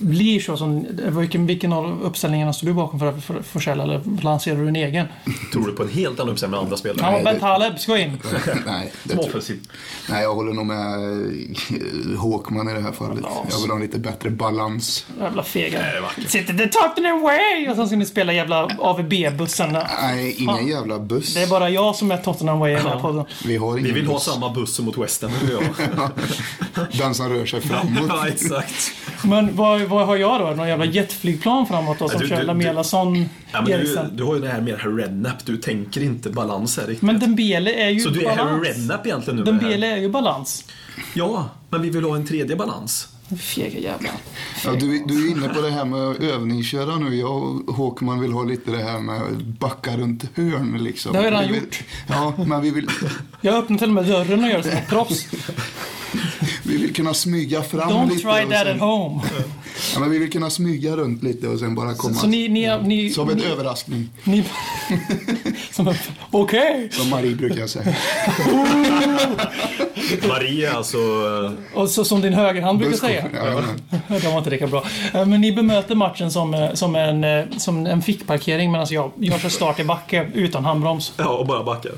[SPEAKER 2] blir så som... Vilken, vilken av uppställningarna står du bakom för, för, för Kjell, eller lanserar du en egen?
[SPEAKER 3] Tror du på en helt annan uppsägning än andra spelare?
[SPEAKER 2] Ja,
[SPEAKER 4] det-
[SPEAKER 2] Ben Taleb ska in.
[SPEAKER 4] Nej, det tror jag.
[SPEAKER 3] Offensivt.
[SPEAKER 4] Nej, jag håller nog med eh, Håkman i det här fallet.
[SPEAKER 2] alltså.
[SPEAKER 4] Jag vill ha en lite bättre balans.
[SPEAKER 2] Jävla fega. Sitter the talking away! Och sen ska ni spela jävla AVB-bussen där.
[SPEAKER 4] Nej, ingen
[SPEAKER 2] Fan.
[SPEAKER 4] jävla buss.
[SPEAKER 2] Det är bara jag som är Tottenham Way i den här
[SPEAKER 3] Ja.
[SPEAKER 2] podden.
[SPEAKER 4] Vi har ingen
[SPEAKER 3] Vi vill ha
[SPEAKER 4] buss.
[SPEAKER 3] samma buss som mot West Ham, du och jag.
[SPEAKER 4] Den som rör sig framåt.
[SPEAKER 3] Ja, exakt.
[SPEAKER 2] Men vad, vad har jag då? Någon jävla jetflygplan framåt då som
[SPEAKER 3] Mm. du-
[SPEAKER 2] kör
[SPEAKER 3] du-
[SPEAKER 2] Lamelason,
[SPEAKER 3] Ja, men du,
[SPEAKER 2] Eriksen?
[SPEAKER 3] du har ju det här mer Harry Redknapp, du tänker inte balans här riktigt.
[SPEAKER 2] Men Dembele är ju
[SPEAKER 3] så du är Harry
[SPEAKER 2] balans.
[SPEAKER 3] Redknapp egentligen nu? med det här.
[SPEAKER 2] Dembele är ju balans.
[SPEAKER 3] Ja, men vi vill ha en tredje balans.
[SPEAKER 2] Fega jävlar.
[SPEAKER 4] Ja, du, du är inne på det här med övningsköra nu. Jag och Håkman vill ha lite det här med backa runt hörn liksom.
[SPEAKER 2] Det har vi redan
[SPEAKER 4] Vi vill,
[SPEAKER 2] gjort.
[SPEAKER 4] Ja, men vi vill,
[SPEAKER 2] Jag öppnar till och med dörren och gör som ett proffs.
[SPEAKER 4] vi vill kunna smyga fram
[SPEAKER 2] Don't
[SPEAKER 4] lite.
[SPEAKER 2] try
[SPEAKER 4] och
[SPEAKER 2] that
[SPEAKER 4] sen-
[SPEAKER 2] at home.
[SPEAKER 4] Ja, men vi vill kunna smyga runt lite och sen bara komma.
[SPEAKER 2] Så ni... ni, ni,
[SPEAKER 4] Som en
[SPEAKER 2] ni,
[SPEAKER 4] överraskning,
[SPEAKER 2] ni som en- Okej!
[SPEAKER 4] som Marie brukar säga.
[SPEAKER 3] Maria alltså...
[SPEAKER 2] Och så som din högerhand brukar
[SPEAKER 4] Busko.
[SPEAKER 2] säga.
[SPEAKER 4] Ja, men-
[SPEAKER 2] Det var inte lika bra. Eh, Men ni bemöter matchen som, eh, som, en, eh, som en fickparkering medan jag, jag kör start i backe utan handbroms.
[SPEAKER 3] Ja, och bara backar.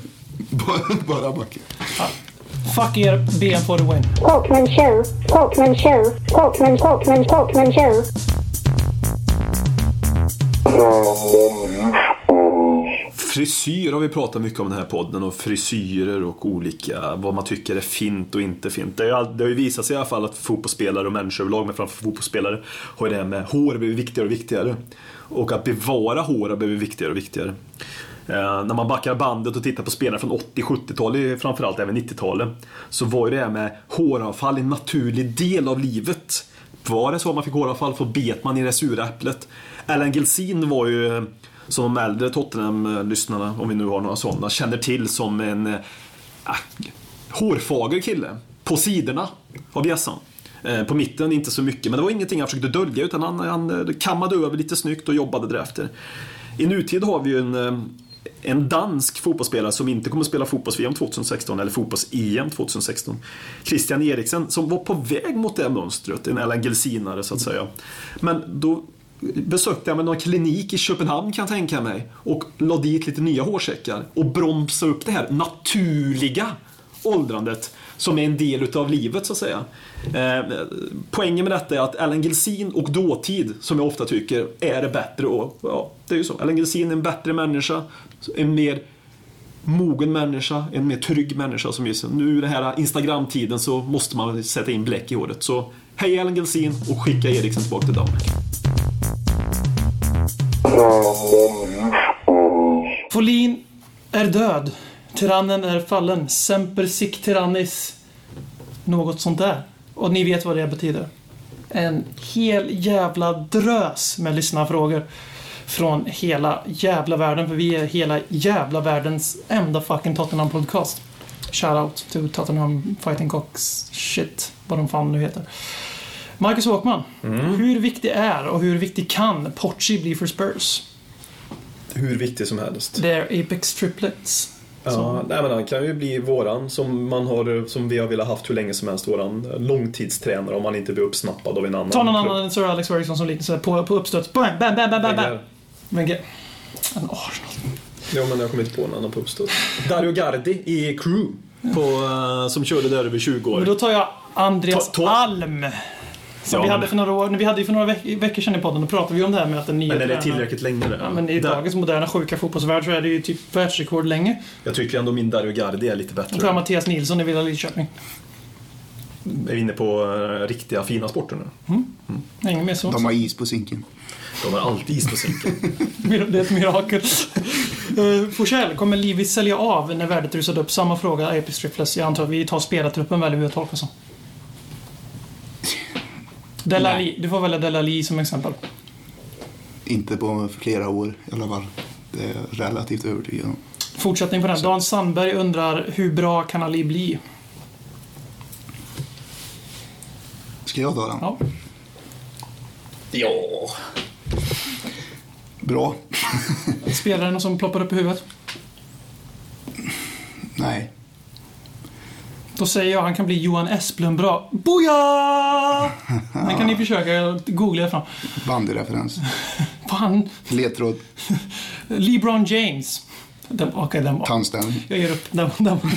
[SPEAKER 4] bara, bara backa.
[SPEAKER 2] Fuck er, BM for the win.
[SPEAKER 7] Pokemon Show, Pokemon Show, Pokemon, Pokemon, Pokemon Show.
[SPEAKER 3] Frisyr har vi pratat mycket om i den här podden och frisyrer och olika, vad man tycker är fint och inte fint. Det har ju all- det har ju visat sig i alla fall att fotbollsspelare och människor överlag, men framför fotbollsspelare, har ju det här med hår blivit viktigare och viktigare. Och att bevara hår har blivit viktigare och viktigare. Eh, när man backar bandet och tittar på spelare från 80-70-talet, framförallt även 90-talet, så var ju det här med håravfall en naturlig del av livet. Var det så man fick håravfall så bet man i det sura äpplet. Alan Gelsin var ju, som de äldre Tottenham-lyssnarna, om vi nu har några sådana, känner till som en eh, ah, hårfager kille. På sidorna av bjässan. Eh, På mitten inte så mycket, men det var ingenting han försökte dölja utan han, han eh, kammade över lite snyggt och jobbade därefter. I nutid har vi ju en, eh, en dansk fotbollsspelare som inte kommer att spela fotbolls-VM 2016 eller fotbolls-EM 2016. Christian Eriksen som var på väg mot det mönstret, en Alan Gelsinare så att säga. Men då besökte jag med någon klinik i Köpenhamn kan jag tänka mig och la dit lite nya hårsäckar och bromsa upp det här naturliga åldrandet som är en del utav livet så att säga. Eh, poängen med detta är att Ellen Gelsin och dåtid, som jag ofta tycker, är det bättre och ja, det är ju så. Ellen Gelsin är en bättre människa, en mer mogen människa, en mer trygg människa som just nu i den här Instagram-tiden så måste man sätta in bläck i håret. Så hej Ellen Gelsin och skicka Eriksen tillbaka till Danmark.
[SPEAKER 2] Folin är död. Tyrannen är fallen. Semper sic tyrannis. Något sånt där. Och ni vet vad det betyder. En hel jävla drös med lyssnarfrågor. Från hela jävla världen. För vi är hela jävla världens enda fucking Tottenham-podcast. Shoutout to Tottenham Fighting Cocks shit. Vad de fan nu heter. Marcus Håkman. Hur viktig är och hur viktig kan Pochi bli för Spurs?
[SPEAKER 3] Hur viktig som helst.
[SPEAKER 2] Det är Apex Triplets.
[SPEAKER 3] Ja, nej, men han kan ju bli våran, som, man har, som vi har velat haft hur länge som helst, våran eh, långtidstränare om han inte blir uppsnappad av en annan.
[SPEAKER 2] Ta någon
[SPEAKER 3] klubb.
[SPEAKER 2] annan än Sir Alex Ferguson som ligger så här på, på uppstuds. Bam, bam, bam, bam, bam, bam. Men ge- en Arsenal.
[SPEAKER 3] Jo, men jag kommer inte på någon annan på uppstånd. Dario Gardi i Crew, på, eh, som körde där över 20 år.
[SPEAKER 2] Men då tar jag Andreas
[SPEAKER 3] Ta- ta-
[SPEAKER 2] Alm. Som
[SPEAKER 3] Ja,
[SPEAKER 2] vi hade
[SPEAKER 3] men-
[SPEAKER 2] för några år, när vi hade för några veck- veckor sedan i podden, då pratade vi om det här med att den nya
[SPEAKER 3] men är det
[SPEAKER 2] tränaren-
[SPEAKER 3] tillräckligt länge det?
[SPEAKER 2] Ja, men i
[SPEAKER 3] Där-
[SPEAKER 2] dagens moderna sjuka fotbollsvärld så är det ju typ världsrekord länge.
[SPEAKER 3] Jag tycker ändå min Dario Gardi är lite
[SPEAKER 2] Då tar jag
[SPEAKER 3] bättre.
[SPEAKER 2] Mattias Nilsson i Villa Lidköping.
[SPEAKER 3] Är vi inne på eh, riktiga fina sporter nu?
[SPEAKER 2] Nej, Inget mer så.
[SPEAKER 4] De har is på sinken.
[SPEAKER 3] De har alltid is på sinken.
[SPEAKER 2] Det är ett mirakel. Eh, Forsell, kommer Livis sälja av när värdet rusat upp? Samma fråga, Apex Triplets. Jag antar att vi tar spelartruppen väljer vi att tolka som. Delali, du får välja Delali som exempel.
[SPEAKER 4] Inte på flera år i alla fall. Det är jag relativt övertygad om.
[SPEAKER 2] Fortsättning på den. Dan Sandberg undrar hur bra kan Ali bli?
[SPEAKER 4] Ska jag ta den?
[SPEAKER 2] Ja.
[SPEAKER 3] ja.
[SPEAKER 4] Bra.
[SPEAKER 2] Spelaren som ploppar upp i huvudet.
[SPEAKER 4] Nej.
[SPEAKER 2] Då Då säger jag han kan bli Johan Esplund bra. Boja! Den kan ni försöka googla fram.
[SPEAKER 4] Bandyreferens.
[SPEAKER 2] Fan,
[SPEAKER 4] Ledtråd.
[SPEAKER 2] LeBron James. Den, okej, den var...
[SPEAKER 4] Tandställning.
[SPEAKER 2] Jag ger upp. Den, den var...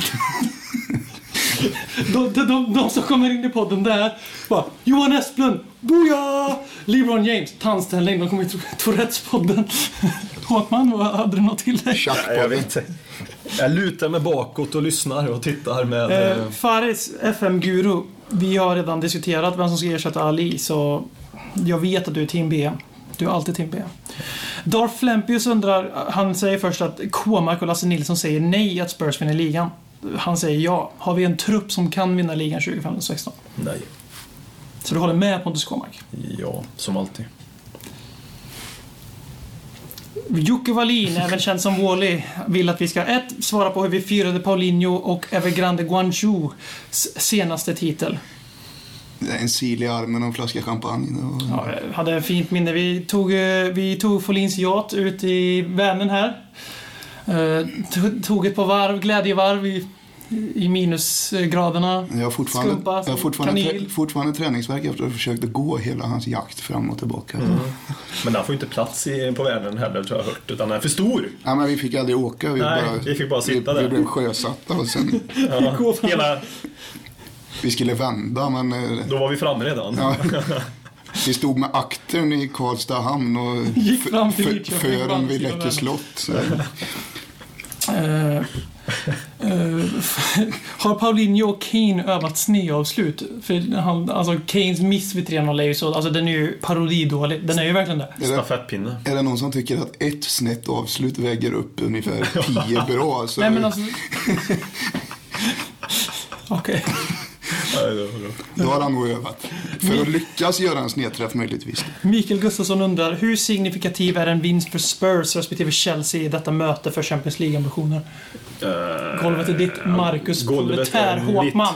[SPEAKER 2] De, de, de, de som kommer in i podden där bara Johan Esplund, boja! LeBron James, tandställning. De kommer i Tour- Tourettes-podden. Håkman, vad hade du något till dig?
[SPEAKER 4] Tjack på
[SPEAKER 3] Jag
[SPEAKER 4] det.
[SPEAKER 3] vet inte. Jag lutar mig bakåt och lyssnar och tittar med...
[SPEAKER 2] Eh,
[SPEAKER 3] eh,
[SPEAKER 2] Fares FM-guru. Vi har redan diskuterat vem som ska ersätta Ali, så jag vet att du är team B. Du är alltid team B. Darth Flempius undrar, han säger först att Kåmark och Lasse Nilsson säger nej att Spurs vinner ligan. Han säger ja. Har vi en trupp som kan vinna ligan 2015-16?
[SPEAKER 3] Nej.
[SPEAKER 2] Så du håller med Pontus Kåmark?
[SPEAKER 3] Ja, som alltid.
[SPEAKER 2] Jocke Wallin, även känd som Wally, vill att vi ska 1. Svara på hur vi firade Paulinho och Evergrande Guangzhous senaste titel.
[SPEAKER 4] En sil i armen och en flaska champagne. Det var-
[SPEAKER 2] Ja, jag hade en fint minne. Vi tog, eh, vi tog Folins yacht ut i Vänern här. Eh, to- Tog ett par varv, glädjevarv i, i minusgraderna.
[SPEAKER 4] Jag har fortfarande,
[SPEAKER 2] Skumpa,
[SPEAKER 4] jag har fortfarande,
[SPEAKER 2] kanel.
[SPEAKER 4] trä, fortfarande träningsvärk efter att ha försökt att gå hela hans jakt fram och tillbaka.
[SPEAKER 2] Mm.
[SPEAKER 3] Men den får ju inte plats i, på världen heller, tror jag har hört. Utan den är för stor.
[SPEAKER 4] Nej, men vi fick aldrig åka. Vi,
[SPEAKER 3] Nej,
[SPEAKER 4] bara,
[SPEAKER 3] vi fick bara sitta
[SPEAKER 4] vi,
[SPEAKER 3] där.
[SPEAKER 4] vi blev sjösatta och sen
[SPEAKER 3] Ja, hela,
[SPEAKER 4] vi skulle vända men eh,
[SPEAKER 3] då var vi framme redan.
[SPEAKER 4] ja, vi stod med aktern i Karlstad hamn och
[SPEAKER 2] Gick
[SPEAKER 4] f-
[SPEAKER 2] fram till
[SPEAKER 4] f-
[SPEAKER 2] Lidköping,
[SPEAKER 4] fören
[SPEAKER 2] vann
[SPEAKER 4] vid
[SPEAKER 2] sina
[SPEAKER 4] Läckö
[SPEAKER 2] vänner.
[SPEAKER 4] slott. Så.
[SPEAKER 2] Eh, eh, har Paulinho och Kane övat sneavslut? För han, alltså Kanes miss vid 3-0 är ju så, alltså den är ju parodidålig. Den är ju verkligen det.
[SPEAKER 4] Är, det,
[SPEAKER 3] Stafettpinne.
[SPEAKER 4] är det någon som tycker att ett snett avslut väger upp ungefär tio bra? Så
[SPEAKER 2] Nej men alltså... Okej.
[SPEAKER 3] Ja, det var bra.
[SPEAKER 4] Då har han nog övat. För att lyckas göra en snedträff möjligtvis.
[SPEAKER 2] Mikael Gustafsson undrar, hur signifikativ är en vinst för Spurs respektive Chelsea i detta möte för Champions League-ambitioner?
[SPEAKER 3] Eh,
[SPEAKER 2] Golvet är ditt, Marcus
[SPEAKER 3] golvet är
[SPEAKER 2] Proletär
[SPEAKER 3] mitt.
[SPEAKER 2] Håkman.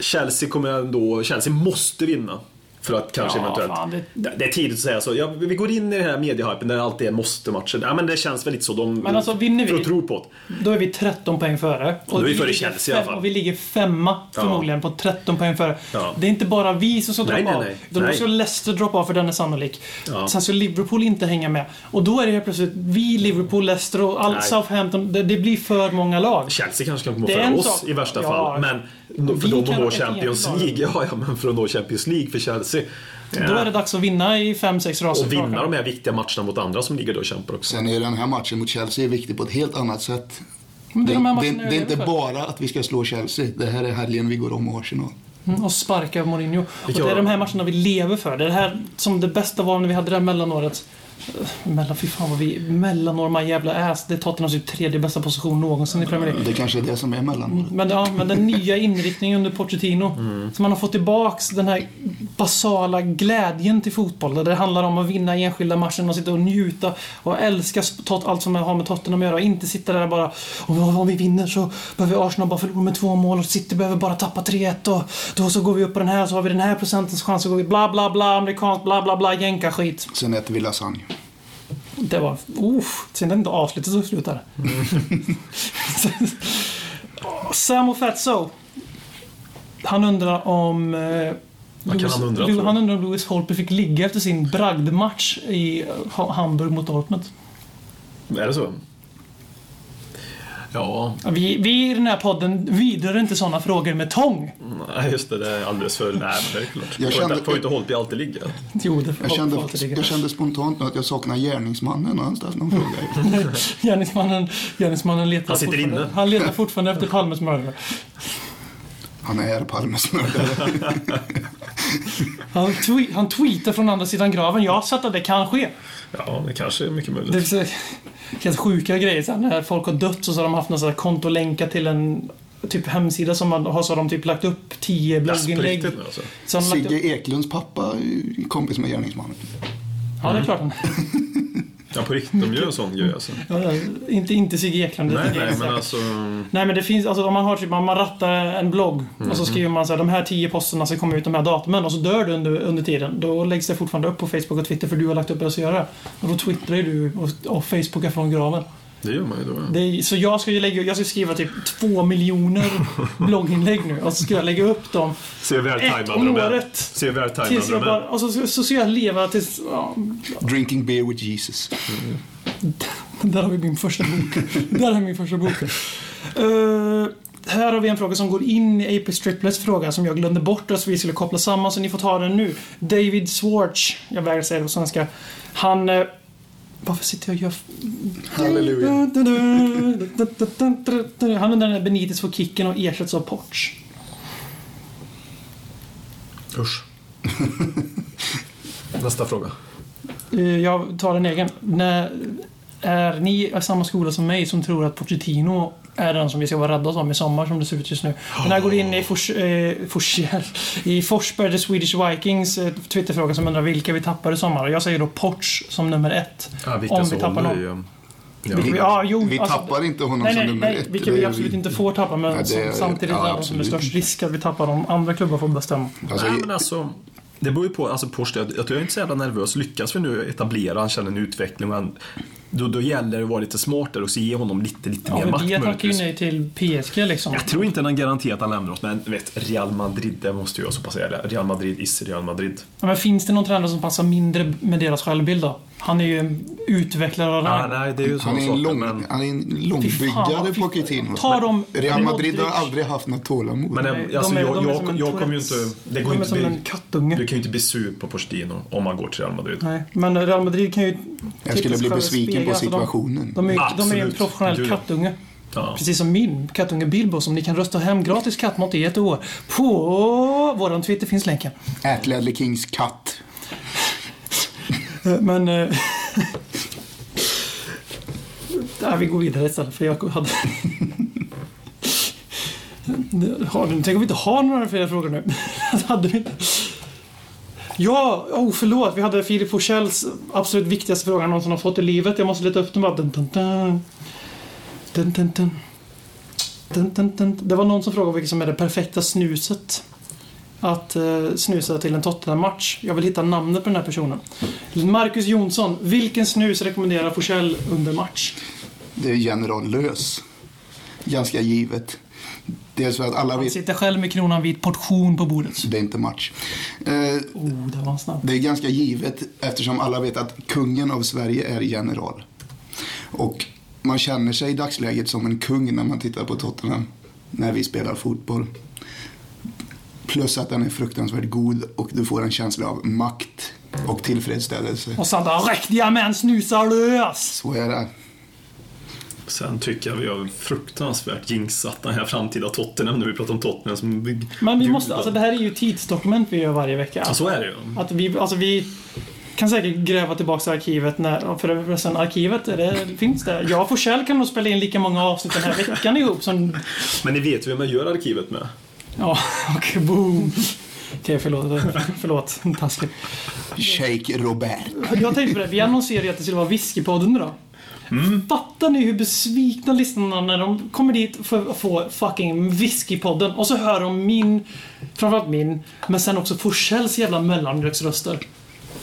[SPEAKER 3] Chelsea kommer ändå... Chelsea måste vinna. För att kanske
[SPEAKER 2] Ja,
[SPEAKER 3] eventuellt...
[SPEAKER 2] fan, det-
[SPEAKER 3] det... det är tidigt att säga så. Ja, vi går in i den här mediehypen där det alltid är måste-matcher. Ja, men det känns väl lite så. De,
[SPEAKER 2] Men alltså, vinner vi-
[SPEAKER 3] För att tro på det.
[SPEAKER 2] Då är vi 13 poäng före.
[SPEAKER 3] Då är vi före
[SPEAKER 2] ligger
[SPEAKER 3] Chelsea i alla fall.
[SPEAKER 2] Och vi ligger femma förmodligen på 13 poäng före.
[SPEAKER 3] Ja.
[SPEAKER 2] Det är inte bara vi som ska
[SPEAKER 3] Nej,
[SPEAKER 2] droppa
[SPEAKER 3] nej,
[SPEAKER 2] av.
[SPEAKER 3] nej.
[SPEAKER 2] Då
[SPEAKER 3] Nej.
[SPEAKER 2] måste Leicester droppa av för den är sannolik.
[SPEAKER 3] Ja.
[SPEAKER 2] Sen ska Liverpool inte hänga med. Och då är det helt plötsligt vi, Liverpool, Leicester och all
[SPEAKER 3] Nej.
[SPEAKER 2] Southampton. Det, det blir för många lag.
[SPEAKER 3] Chelsea kanske kan komma
[SPEAKER 2] Det är en
[SPEAKER 3] före oss
[SPEAKER 2] sak.
[SPEAKER 3] i värsta
[SPEAKER 2] Ja.
[SPEAKER 3] fall. Men
[SPEAKER 2] Vi
[SPEAKER 3] för dem
[SPEAKER 2] kan
[SPEAKER 3] att
[SPEAKER 2] ha
[SPEAKER 3] nå
[SPEAKER 2] ett
[SPEAKER 3] Champions
[SPEAKER 2] ensamt.
[SPEAKER 3] League, ja, ja men för att nå Champions League för Chelsea.
[SPEAKER 2] Då
[SPEAKER 3] Ja.
[SPEAKER 2] är det dags att vinna i 5-6 raser.
[SPEAKER 3] Och vinna de här viktiga matcherna mot andra som ligger då och kämpar också.
[SPEAKER 4] Sen är den här matchen mot Chelsea viktig på ett helt annat sätt.
[SPEAKER 2] Men det är
[SPEAKER 4] Det,
[SPEAKER 2] de här
[SPEAKER 4] det,
[SPEAKER 2] matcherna jag
[SPEAKER 4] det är inte
[SPEAKER 2] lever för.
[SPEAKER 4] bara att vi ska slå Chelsea. Det här är helgen vi går om Arsenal.
[SPEAKER 2] Mm, och sparka Mourinho. Och
[SPEAKER 3] Vilka
[SPEAKER 2] det är
[SPEAKER 3] var-
[SPEAKER 2] de här matcherna vi lever för. Det är det här som det bästa var när vi hade det här mellanåret. Eh, Mellan, fy fan vad vi... Mellanår, man jävla ass. Det är Tottenhams typ tredje bästa position någonsin i Premier League.
[SPEAKER 4] Det kanske är det som är mellanmålet.
[SPEAKER 2] Men, ja, men den nya inriktningen under Pochettino. Så man har fått tillbaks den här basala glädjen till fotboll. Där det handlar om att vinna enskilda matcher och sitta och njuta och älska tot- allt som har med Tottenham att göra. Och inte sitta där och bara om, om vi vinner så behöver Arsenal bara förlora med två mål och City behöver bara tappa 3-1 och då så går vi upp på den här så har vi den här procentens chans så går vi bla bla bla amerikanskt bla bla bla jänka-skit.
[SPEAKER 4] Sen äter vi lasagne.
[SPEAKER 2] Det var... Uff, synd att inte avslutet så slutar.
[SPEAKER 4] Mm.
[SPEAKER 2] Sam och Fatso. Han undrar om... Eh,
[SPEAKER 3] Vad kan alltså.
[SPEAKER 2] Lewis-
[SPEAKER 3] han undra
[SPEAKER 2] Lew-
[SPEAKER 3] för?
[SPEAKER 2] han undrar om Lewis Holpe fick ligga efter sin bragdmatch i eh, Ha- Hamburg mot Dortmund.
[SPEAKER 3] Är det så? Ja,
[SPEAKER 2] Vi, vi i den här podden vidrör inte sådana frågor med tång.
[SPEAKER 3] nej, just det. Det är alldeles för... Nej, men det är klart.
[SPEAKER 4] Jag
[SPEAKER 3] Jag
[SPEAKER 4] kände-
[SPEAKER 3] kände... Får inte Holtby alltid ligga?
[SPEAKER 2] Jo, det får
[SPEAKER 4] Jag kände,
[SPEAKER 2] alltid ligga.
[SPEAKER 4] jag kände spontant nu att jag saknar gärningsmannen. Har han ställt någon fråga?
[SPEAKER 2] Gärningsmannen, gärningsmannen letar
[SPEAKER 3] Han sitter
[SPEAKER 2] fortfarande-
[SPEAKER 3] inne.
[SPEAKER 2] Han letar fortfarande efter Palmes mördare.
[SPEAKER 4] Han är Palmes mördare.
[SPEAKER 2] Han, twe- han tweetar från andra sidan graven. Jag har sett att det kan ske.
[SPEAKER 3] Ja, det kanske är mycket
[SPEAKER 2] Det är
[SPEAKER 3] möjligt.
[SPEAKER 2] så, helt sjuka grejer sen när folk har dött så har de haft någon sån här kontolänkar till en typ hemsida som man har så har de typ lagt upp tio
[SPEAKER 3] Det är på
[SPEAKER 2] blogginlägg.
[SPEAKER 3] riktigt nu alltså.
[SPEAKER 2] Så har de lagt
[SPEAKER 4] Sigge
[SPEAKER 2] upp,
[SPEAKER 4] Eklunds pappa är kompis med gärningsmannen.
[SPEAKER 2] ja, det är klart.
[SPEAKER 3] Ja, på riktigt. De gör en sån grej alltså.
[SPEAKER 2] Ja, ja, inte, inte Sigge Eklund. det
[SPEAKER 3] Nej,
[SPEAKER 2] tycker jag
[SPEAKER 3] nej,
[SPEAKER 2] är säkert.
[SPEAKER 3] men alltså...
[SPEAKER 2] nej, men det finns, alltså om man har typ, man man rattar en blogg
[SPEAKER 3] Mm,
[SPEAKER 2] och så skriver man så här, de här tio posterna ska komma ut de här datumen och så dör du under, under tiden. Då läggs det fortfarande upp på Facebook och Twitter för du har lagt upp det och så gör det. Och då twittrar ju du och, och facebookar från graven.
[SPEAKER 3] Det gör man ju då.
[SPEAKER 2] Det är, så jag ska ju lägga, jag ska skriva typ två miljoner blogginlägg nu och så ska jag lägga upp dem
[SPEAKER 3] Se hur
[SPEAKER 2] ett
[SPEAKER 3] vältajmade
[SPEAKER 2] om
[SPEAKER 3] de är.
[SPEAKER 2] året.
[SPEAKER 3] Se hur
[SPEAKER 2] Tills
[SPEAKER 3] vältajmade
[SPEAKER 2] jag
[SPEAKER 3] de
[SPEAKER 2] bara,
[SPEAKER 3] är.
[SPEAKER 2] och så, så ska jag leva tills... Ja,
[SPEAKER 4] Drinking beer with Jesus.
[SPEAKER 2] där har vi min första bok. där har min första bok. Eh, här har vi en fråga som går in i Apex Triplets fråga som jag glömde bort och så vi skulle koppla samman så ni får ta den nu. David Swartz, jag vägrar säga det på svenska. Han... eh, varför sitter jag och gör
[SPEAKER 4] Halleluja.
[SPEAKER 2] Han använder Benitez för kicken och ersätts av Porch.
[SPEAKER 3] Usch. Nästa fråga.
[SPEAKER 2] Eh, Jag tar en egen. När, är ni av samma skola som mig som tror att Pochettino är den som vi ska vara rädda om i sommar som det ser ut just nu? Den här går in i, Fors, eh, Forsier, i Forsberg, The Swedish Vikings eh, Twitterfråga som undrar vilka vi tappar i sommar. Och Jag säger då Porch som nummer ett.
[SPEAKER 3] Ja,
[SPEAKER 2] om vi tappar någon.
[SPEAKER 3] Ja.
[SPEAKER 2] Vilka vi- Ja, jo,
[SPEAKER 4] Vi
[SPEAKER 2] alltså-
[SPEAKER 4] tappar inte honom
[SPEAKER 2] Nej,
[SPEAKER 4] som
[SPEAKER 2] nej,
[SPEAKER 4] nummer
[SPEAKER 2] nej,
[SPEAKER 4] ett.
[SPEAKER 2] vilka
[SPEAKER 4] Det
[SPEAKER 2] vi
[SPEAKER 4] är
[SPEAKER 2] absolut
[SPEAKER 4] vi-
[SPEAKER 2] inte får tappa men
[SPEAKER 4] Ja, det är-
[SPEAKER 2] som samtidigt
[SPEAKER 4] ja,
[SPEAKER 2] är de som är
[SPEAKER 4] absolut.
[SPEAKER 2] störst risk att vi tappar dem. Andra klubbar får bestämma.
[SPEAKER 4] Alltså,
[SPEAKER 3] Nej, men alltså, det beror ju på. Alltså, Porsche, jag, jag tror jag är inte så jävla nervös. Lyckas vi nu etablera, han känner en utveckling, men då, då gäller det att vara lite smartare och så ge honom lite, lite
[SPEAKER 2] Ja,
[SPEAKER 3] mer
[SPEAKER 2] men
[SPEAKER 3] makt
[SPEAKER 2] vi tackar ju
[SPEAKER 3] möjligtvis.
[SPEAKER 2] nej till PSG liksom.
[SPEAKER 3] Jag tror inte han garanterat han lämnar oss, men vet, Real Madrid, det måste jag så pass säga. det. Real Madrid is Real Madrid.
[SPEAKER 2] Ja, Men finns det någon tränare som passar mindre med deras självbild då? Han är ju en utvecklare av
[SPEAKER 3] Ja,
[SPEAKER 2] rang.
[SPEAKER 3] nej, det är ju
[SPEAKER 4] Han
[SPEAKER 3] sådana
[SPEAKER 4] är en,
[SPEAKER 3] saker,
[SPEAKER 4] lång,
[SPEAKER 3] men...
[SPEAKER 4] han är en
[SPEAKER 2] Fy fan,
[SPEAKER 4] långbyggare
[SPEAKER 2] fy-
[SPEAKER 4] på Coutinho.
[SPEAKER 2] Ta dem-
[SPEAKER 4] Real Madrid har
[SPEAKER 2] Modric.
[SPEAKER 4] aldrig haft något tålamod.
[SPEAKER 3] Men
[SPEAKER 2] Nej,
[SPEAKER 3] jag,
[SPEAKER 2] de
[SPEAKER 3] alltså,
[SPEAKER 2] är-
[SPEAKER 3] jag,
[SPEAKER 2] de är
[SPEAKER 3] jag,
[SPEAKER 2] som en
[SPEAKER 3] jag, kommer ju inte...
[SPEAKER 2] Tourettes.
[SPEAKER 3] Det går
[SPEAKER 2] De är
[SPEAKER 3] inte
[SPEAKER 2] som en
[SPEAKER 3] bli, du
[SPEAKER 2] kattunge.
[SPEAKER 3] kan ju inte bli sur på Pochettino om han går till Real Madrid.
[SPEAKER 2] Nej, men Real Madrid kan ju...
[SPEAKER 4] jag skulle
[SPEAKER 2] typ
[SPEAKER 4] bli
[SPEAKER 2] själva
[SPEAKER 4] besviken på
[SPEAKER 2] spegla, alltså,
[SPEAKER 4] situationen.
[SPEAKER 2] De, de, är, ju- de är ju en
[SPEAKER 3] Absolut.
[SPEAKER 2] professionell
[SPEAKER 3] Du-
[SPEAKER 2] kattunge.
[SPEAKER 3] Ja.
[SPEAKER 2] Precis som min kattunge Bilbo som ni kan rösta hem gratis kattmat i ett år. På våran Twitter finns länken.
[SPEAKER 4] At Ledley Kings katt.
[SPEAKER 2] Eh, Men... eh, Nej, vi går vidare istället för jag hade... Har du, tänk om vi inte har några fler frågor nu. Det hade vi inte. Ja, oh förlåt. Vi hade Filip Forssells absolut viktigaste fråga han någonsin har fått i livet. Jag måste leta upp den bara. Dun, dun, dun. Dun, dun, dun. Dun, dun, dun. Det var någon som frågade vilket som är det perfekta snuset. Att eh, snusa till en Tottenham-match. Jag vill hitta namnet på den här personen. Marcus Jonsson, vilken snus rekommenderar Forsell under match?
[SPEAKER 4] Det är General Lös. Ganska givet. Dels för att alla
[SPEAKER 2] Han
[SPEAKER 4] vet
[SPEAKER 2] sitter själv med kronan vid portion på bordet.
[SPEAKER 4] det är inte match. Eh,
[SPEAKER 2] Oh, det var en snabb.
[SPEAKER 4] Det är ganska givet eftersom alla vet att kungen av Sverige är general. Och man känner sig i dagsläget som en kung när man tittar på Tottenham när vi spelar fotboll. Plus att den är fruktansvärt god och du får en känsla av makt och tillfredsställelse.
[SPEAKER 2] Och Sandra, riktiga män snusar lös!
[SPEAKER 4] Så är det.
[SPEAKER 3] Sen tycker jag vi har fruktansvärt jinxat den här framtida Tottenham nu. Vi pratar om Tottenham som...
[SPEAKER 2] Men vi måste, alltså det här är ju tidsdokument vi gör varje vecka.
[SPEAKER 3] Ja, så är det ju.
[SPEAKER 2] Att vi, alltså vi kan säkert gräva tillbaka i arkivet när, för förresten arkivet, är det, finns det? Jag och Forsell kan nog spela in lika många avsnitt den här veckan ihop som...
[SPEAKER 3] Men ni vet ju vem jag gör arkivet med.
[SPEAKER 2] Ja, okej, boom. Okej, förlåt. Förlåt, taskigt.
[SPEAKER 4] Shake Robert.
[SPEAKER 2] Jag tänkte på det, vi annonserade ju att det skulle vara Whiskypodden idag.
[SPEAKER 3] Mm.
[SPEAKER 2] Fattar ni hur besvikna lyssnarna när de kommer dit för att få fucking Whiskypodden och så hör de min, framförallt min, men sen också Forssells jävla mellanmjölksröster.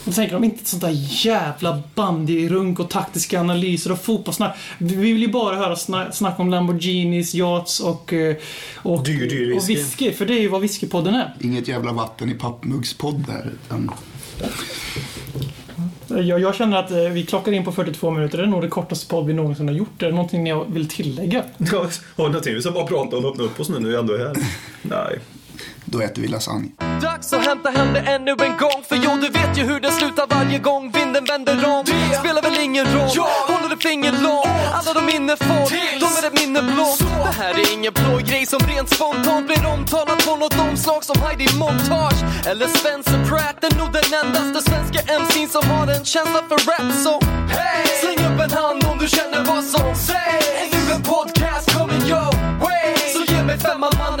[SPEAKER 2] Då tänker de inte ett sånt där jävla bandyrunk och taktiska analyser och fotbollssnack. Vi vill ju bara höra sna- snack om Lamborghinis, yachts och, eh, och,
[SPEAKER 3] Dyr, dyr
[SPEAKER 2] och
[SPEAKER 3] whisky.
[SPEAKER 2] whisky. För det är ju vad Whiskypodden är.
[SPEAKER 4] Inget jävla vatten i pappmuggspodd där. Utan
[SPEAKER 2] Jag, jag känner att eh, vi klockar in på 42 minuter. Det är nog det kortaste podd vi någonsin har gjort. Är det någonting jag vill tillägga?
[SPEAKER 3] Ja, har ni någonting? Vi ska bara prata och öppna upp oss nu när vi ändå är här. Nej.
[SPEAKER 4] då äter vi lasagne.
[SPEAKER 5] Dags att hämta hem det ännu en gång För jo, du vet ju hur det slutar varje gång vinden vänder om Spelar väl ingen roll, håller ett finger långt Alla de minne får, de är ett minne blått Det här är ingen blå grej som rent spontant blir omtalat på något omslag som Heidi Montage eller Spencer Pratt Det är nog den endaste svenska MC'n som har en känsla för rap så hey! släng upp en hand om du känner vad som sägs Ännu en podcast coming your way Så ge mig femman mannen